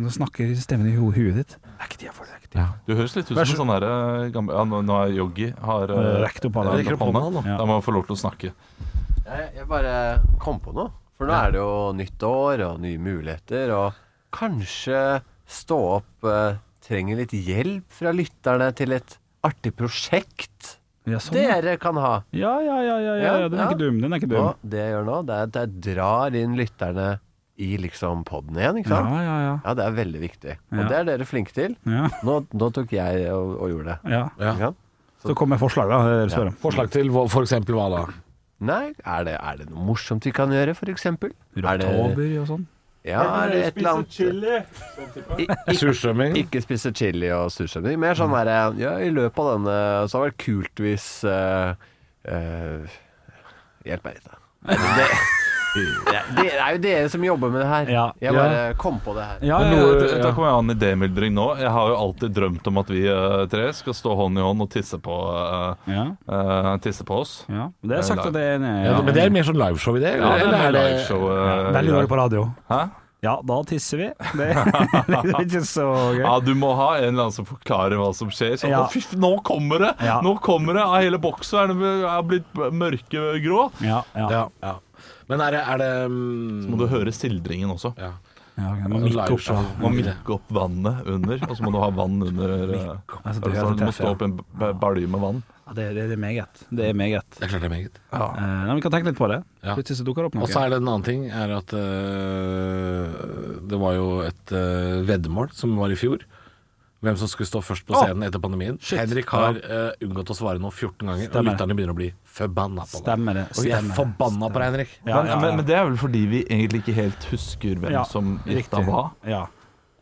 S5: nå snakker stemmen i ho huet ditt. Det er ikke tida for det. det er ikke tida.
S6: Du høres litt ut som en sånn her eh, gammel Ja, nå, nå er Yogi har
S5: Eh,
S6: eh,
S5: rekt opp hånda.
S6: rekt opp hånda.
S5: Ja.
S6: Da må han få lov til å snakke.
S7: Jeg, jeg bare kom på noe. For nå er det jo nytt år og nye muligheter, og kanskje Stå opp eh, trenger litt hjelp fra lytterne til et artig prosjekt
S5: Ja, sånn.
S7: dere kan ha.
S5: ja, ja, ja, ja, ja, ja, den er
S7: Ja, ja.
S5: ikke dum. Den er ikke dum.
S7: Og det jeg gjør nå, det er at jeg drar inn lytterne i liksom poden igjen, ikke
S5: Ja,
S7: sant?
S5: ja, ja.
S7: Ja, det er veldig viktig. Og
S5: Ja.
S7: det er dere flinke til.
S5: ja,
S7: Nå, nå tok jeg og, og gjorde det.
S5: ja.
S3: Ja.
S7: ikke sant?
S5: Så kom med forslag, da. Det er det dere spør om.
S3: Forslag til hva- for eksempel hva da?
S7: Nei, er det, er det noe morsomt vi kan gjøre, for eksempel? Er det,
S5: Oktober og sånn.
S7: ja, er det et eller annet
S3: Surstrømming?
S7: Ikke spise chili og surstrømming. Mer sånn derre Ja, i løpet av denne Så hadde det vært kult hvis eh, eh, Hjelp meg litt, da. Det, det, det er jo dere som jobber med det her.
S5: Ja.
S7: Jeg bare kom på det her.
S5: Ja,
S6: Men
S5: ja,
S6: noe,
S5: ja,
S6: da kommer jeg an idémyldring nå. Jeg har jo alltid drømt om at vi eh, tre skal stå hånd i hånd og tisse på, eh,
S5: ja.
S6: eh, tisse på oss.
S5: ja. Det er sagt at det er en
S3: Ja, men det er mer sånn liveshow i det?
S6: Ja, det
S3: eller
S6: er
S3: er det
S6: liveshow. eh,
S5: Veldig dårlig
S6: greier.
S5: på radio.
S6: Hæ?
S5: Ja, da tisser vi. Det, det er ikke så gøy.
S6: Ja, du må ha en eller annen som forklarer hva som skjer. Sånn,
S5: Ja.
S6: «Å, fy, f- nå kommer det!
S5: Ja.
S6: Nå kommer det! Ja, hele boksen er, den- er blitt mørkegrå.
S5: Ja, ja.
S3: Ja, ja. Men er det, er det mm,
S6: Så må du høre sildringen også.
S3: ja.
S5: Ja, ok, men midt opp,
S3: Liveshow.
S6: Du må mikke opp vannet under, og så må du ha vann under eh,
S5: Altså, det,
S6: Eller
S5: er
S6: sånn,
S5: så
S6: du må
S5: tøft,
S6: stå
S5: ja.
S6: opp i en b- balje med vann.
S5: Ja, det, det, det er meget. Det er meget.
S3: Det er klart det er meget.
S5: Eh, nei, vi kan tenke litt på det.
S3: Ja.
S5: Plutselig så dukker det opp noe.
S3: Og så er det en annen ting, er at eh, det var jo et uh, veddemål som var i fjor. Hvem som skulle stå først på scenen etter pandemien. Henrik har eh, unngått å svare nå 14 ganger,
S5: Stemmer.
S3: og lytterne begynner å bli forbanna på deg.
S5: Stemmer det.
S3: Og jeg er
S5: Stemmer.
S3: forbanna på deg, Henrik.
S5: Ja,
S6: men,
S5: ja, ja.
S6: Men, men det er vel fordi vi egentlig ikke helt husker hvem
S5: Ja,
S6: som gikk da
S5: riktig.
S6: hva.
S5: Ja.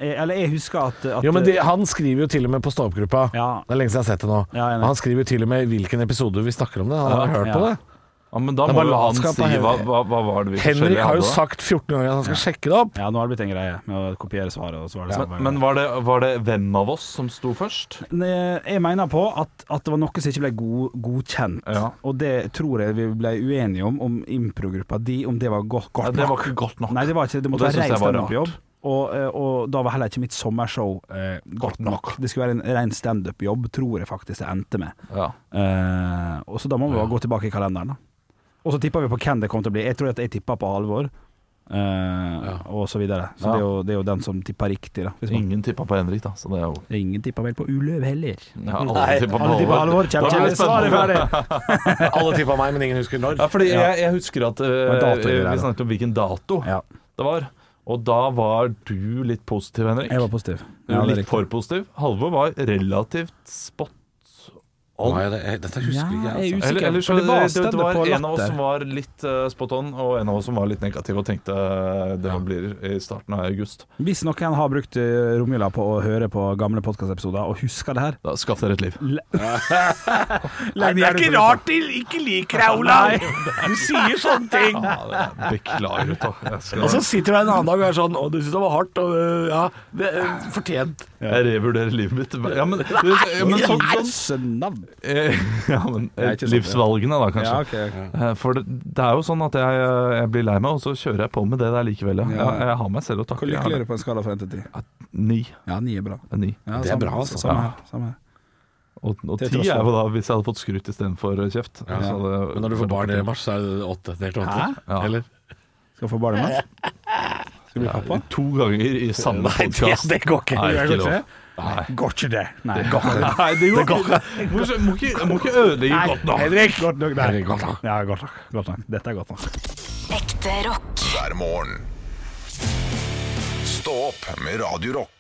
S5: Eh, Eller jeg husker at, at
S3: Jo, men det, Han skriver jo til og med på stå-opp-gruppa.
S5: Ja.
S3: Det er lenge siden jeg har sett det nå.
S5: Ja, jeg vet.
S3: han skriver jo til og med hvilken episode vi snakker om det. Han har hørt
S5: ja.
S3: på det.
S6: Ja, men da
S3: Det er
S6: må
S3: bare
S6: jo han
S3: latskap
S6: si
S3: av
S6: hva,
S3: Henrik.
S6: hva, hva var det vi
S3: Henrik
S6: forskjellige
S3: har jo
S6: hadde da?
S3: sagt 14 ganger at han skal sjekke det opp.
S5: Ja, nå har det blitt en greie med å kopiere svaret. Og svare det samme hver
S6: Men,
S5: gang.
S6: men var, det, var det hvem av oss som sto først?
S5: Ne- eh, Jeg mener på at, at det var noe som ikke ble god, godkjent.
S6: Ja.
S5: Og det tror jeg vi ble uenige om, om improgruppa di, om det var godt,
S6: Nei,
S5: godt
S6: det var
S5: nok.
S6: ikke godt nok.
S5: Nei, det var ikke Det
S6: Og
S5: måtte
S6: det
S5: være
S6: synes jeg
S5: reist
S6: var
S5: standup-jobb. Og, eh, og da var heller ikke mitt sommershow eh, godt nok. Det skulle være en ren standup-jobb, tror jeg faktisk det endte med.
S6: Ja.
S5: Eh, og så da må vi bare gå tilbake i kalenderen, da. Og så tippa vi på hvem det kom til å bli. Jeg tror at jeg tippa på Halvor. eh, Og så videre. Så det,
S6: Ja.
S5: er jo, det er jo den som tippa riktig, da. Hvis man,
S6: Ingen tippa på Henrik, da. Så det er jo
S5: ingen tippa vel på Uløv heller.
S6: Jeg har aldri tippa
S5: Alle tippa Halvor.
S6: Da
S5: Kjem,
S6: blir
S5: kjem,
S6: det
S5: svaret
S6: spennende.
S5: ferdig!
S3: Alle tippa meg, men ingen husker når.
S6: Ja, fordi jeg, jeg husker at eh,
S5: var datoer der,
S6: vi
S5: da.
S6: snakket om hvilken dato
S5: Ja.
S6: det var. Og da var du litt positiv, Henrik.
S5: Jeg var positiv.
S6: Du var litt for positiv. Halvor var relativt spot.
S3: Nei, det, jeg, dette husker ikke jeg. Altså.
S6: Eller, eller så
S5: for
S6: det,
S5: det var
S6: det,
S5: stedet
S6: var
S5: på
S6: en av oss
S5: latter.
S6: som var litt eh, spot on, og en av oss som var litt negativ og tenkte eh, det blir i starten av august.
S5: Hvis noen har brukt eh, romjula på å høre på gamle podkastepisoder og husker det her
S6: Da Skaff dere et liv.
S3: Nei, det er ikke rart de ikke liker deg, Olav! Du sier sånne ting.
S6: Ja, det er- Beklager, ta. Jeg,
S5: Altså,
S3: Og så
S6: skal,
S3: sitter du her en annen dag og er sånn Å, du syns det var hardt, og øh, ja det, er Fortjent.
S6: jeg revurderer livet mitt. Ja, men, ja, men sånn, sånn
S5: navn!
S6: eh, ja, men, eh,
S5: ikke sant, ja.
S6: Livsvalgene, da, kanskje.
S5: Ja, ok, ok.
S6: Eh, For det, det er jo sånn at jeg, jeg blir lei meg, og så kjører jeg på med det der likevel. Ja. Jeg, jeg har meg selv å takke.
S5: Hvor
S6: Jeg
S5: lykkelig
S6: har
S5: er du på en skala fra 1 til 10?
S6: det. Ni.
S5: Ja, 9 er bra.
S6: Ni.
S5: Ja,
S3: Det er
S5: samme-
S3: bra, altså.
S5: Samme her. Samme her.
S6: Og, og
S5: Til
S6: ti
S5: tross
S6: er
S5: for-
S6: jo da hvis jeg hadde fått skryt istedenfor kjeft.
S3: Ja.
S6: Så hadde-
S3: Men når du får barn i mars, så er det åtte. Det er helt åtte.
S6: Ja.
S3: Eller?
S5: Skal få barn i mars? Skal bli pappa?
S6: To ganger i samme
S3: Nei, det,
S6: podkast.
S3: det går ikke.
S6: Nei,
S5: Det
S6: ikke
S5: går
S6: lov.
S5: ikke. Går ikke det. Nei, går ikke det.
S6: Nei, det går ikke. Må ikke- Må ikke, må ikke ødelegge godt nok.
S5: Henrik! Godt nok, nei.
S3: Henrik, godt nok.
S5: Ja, godt nok. Godt nok. Dette er godt nok.
S2: Ekte rock.
S1: hver morgen. Stå opp med Radio Rock.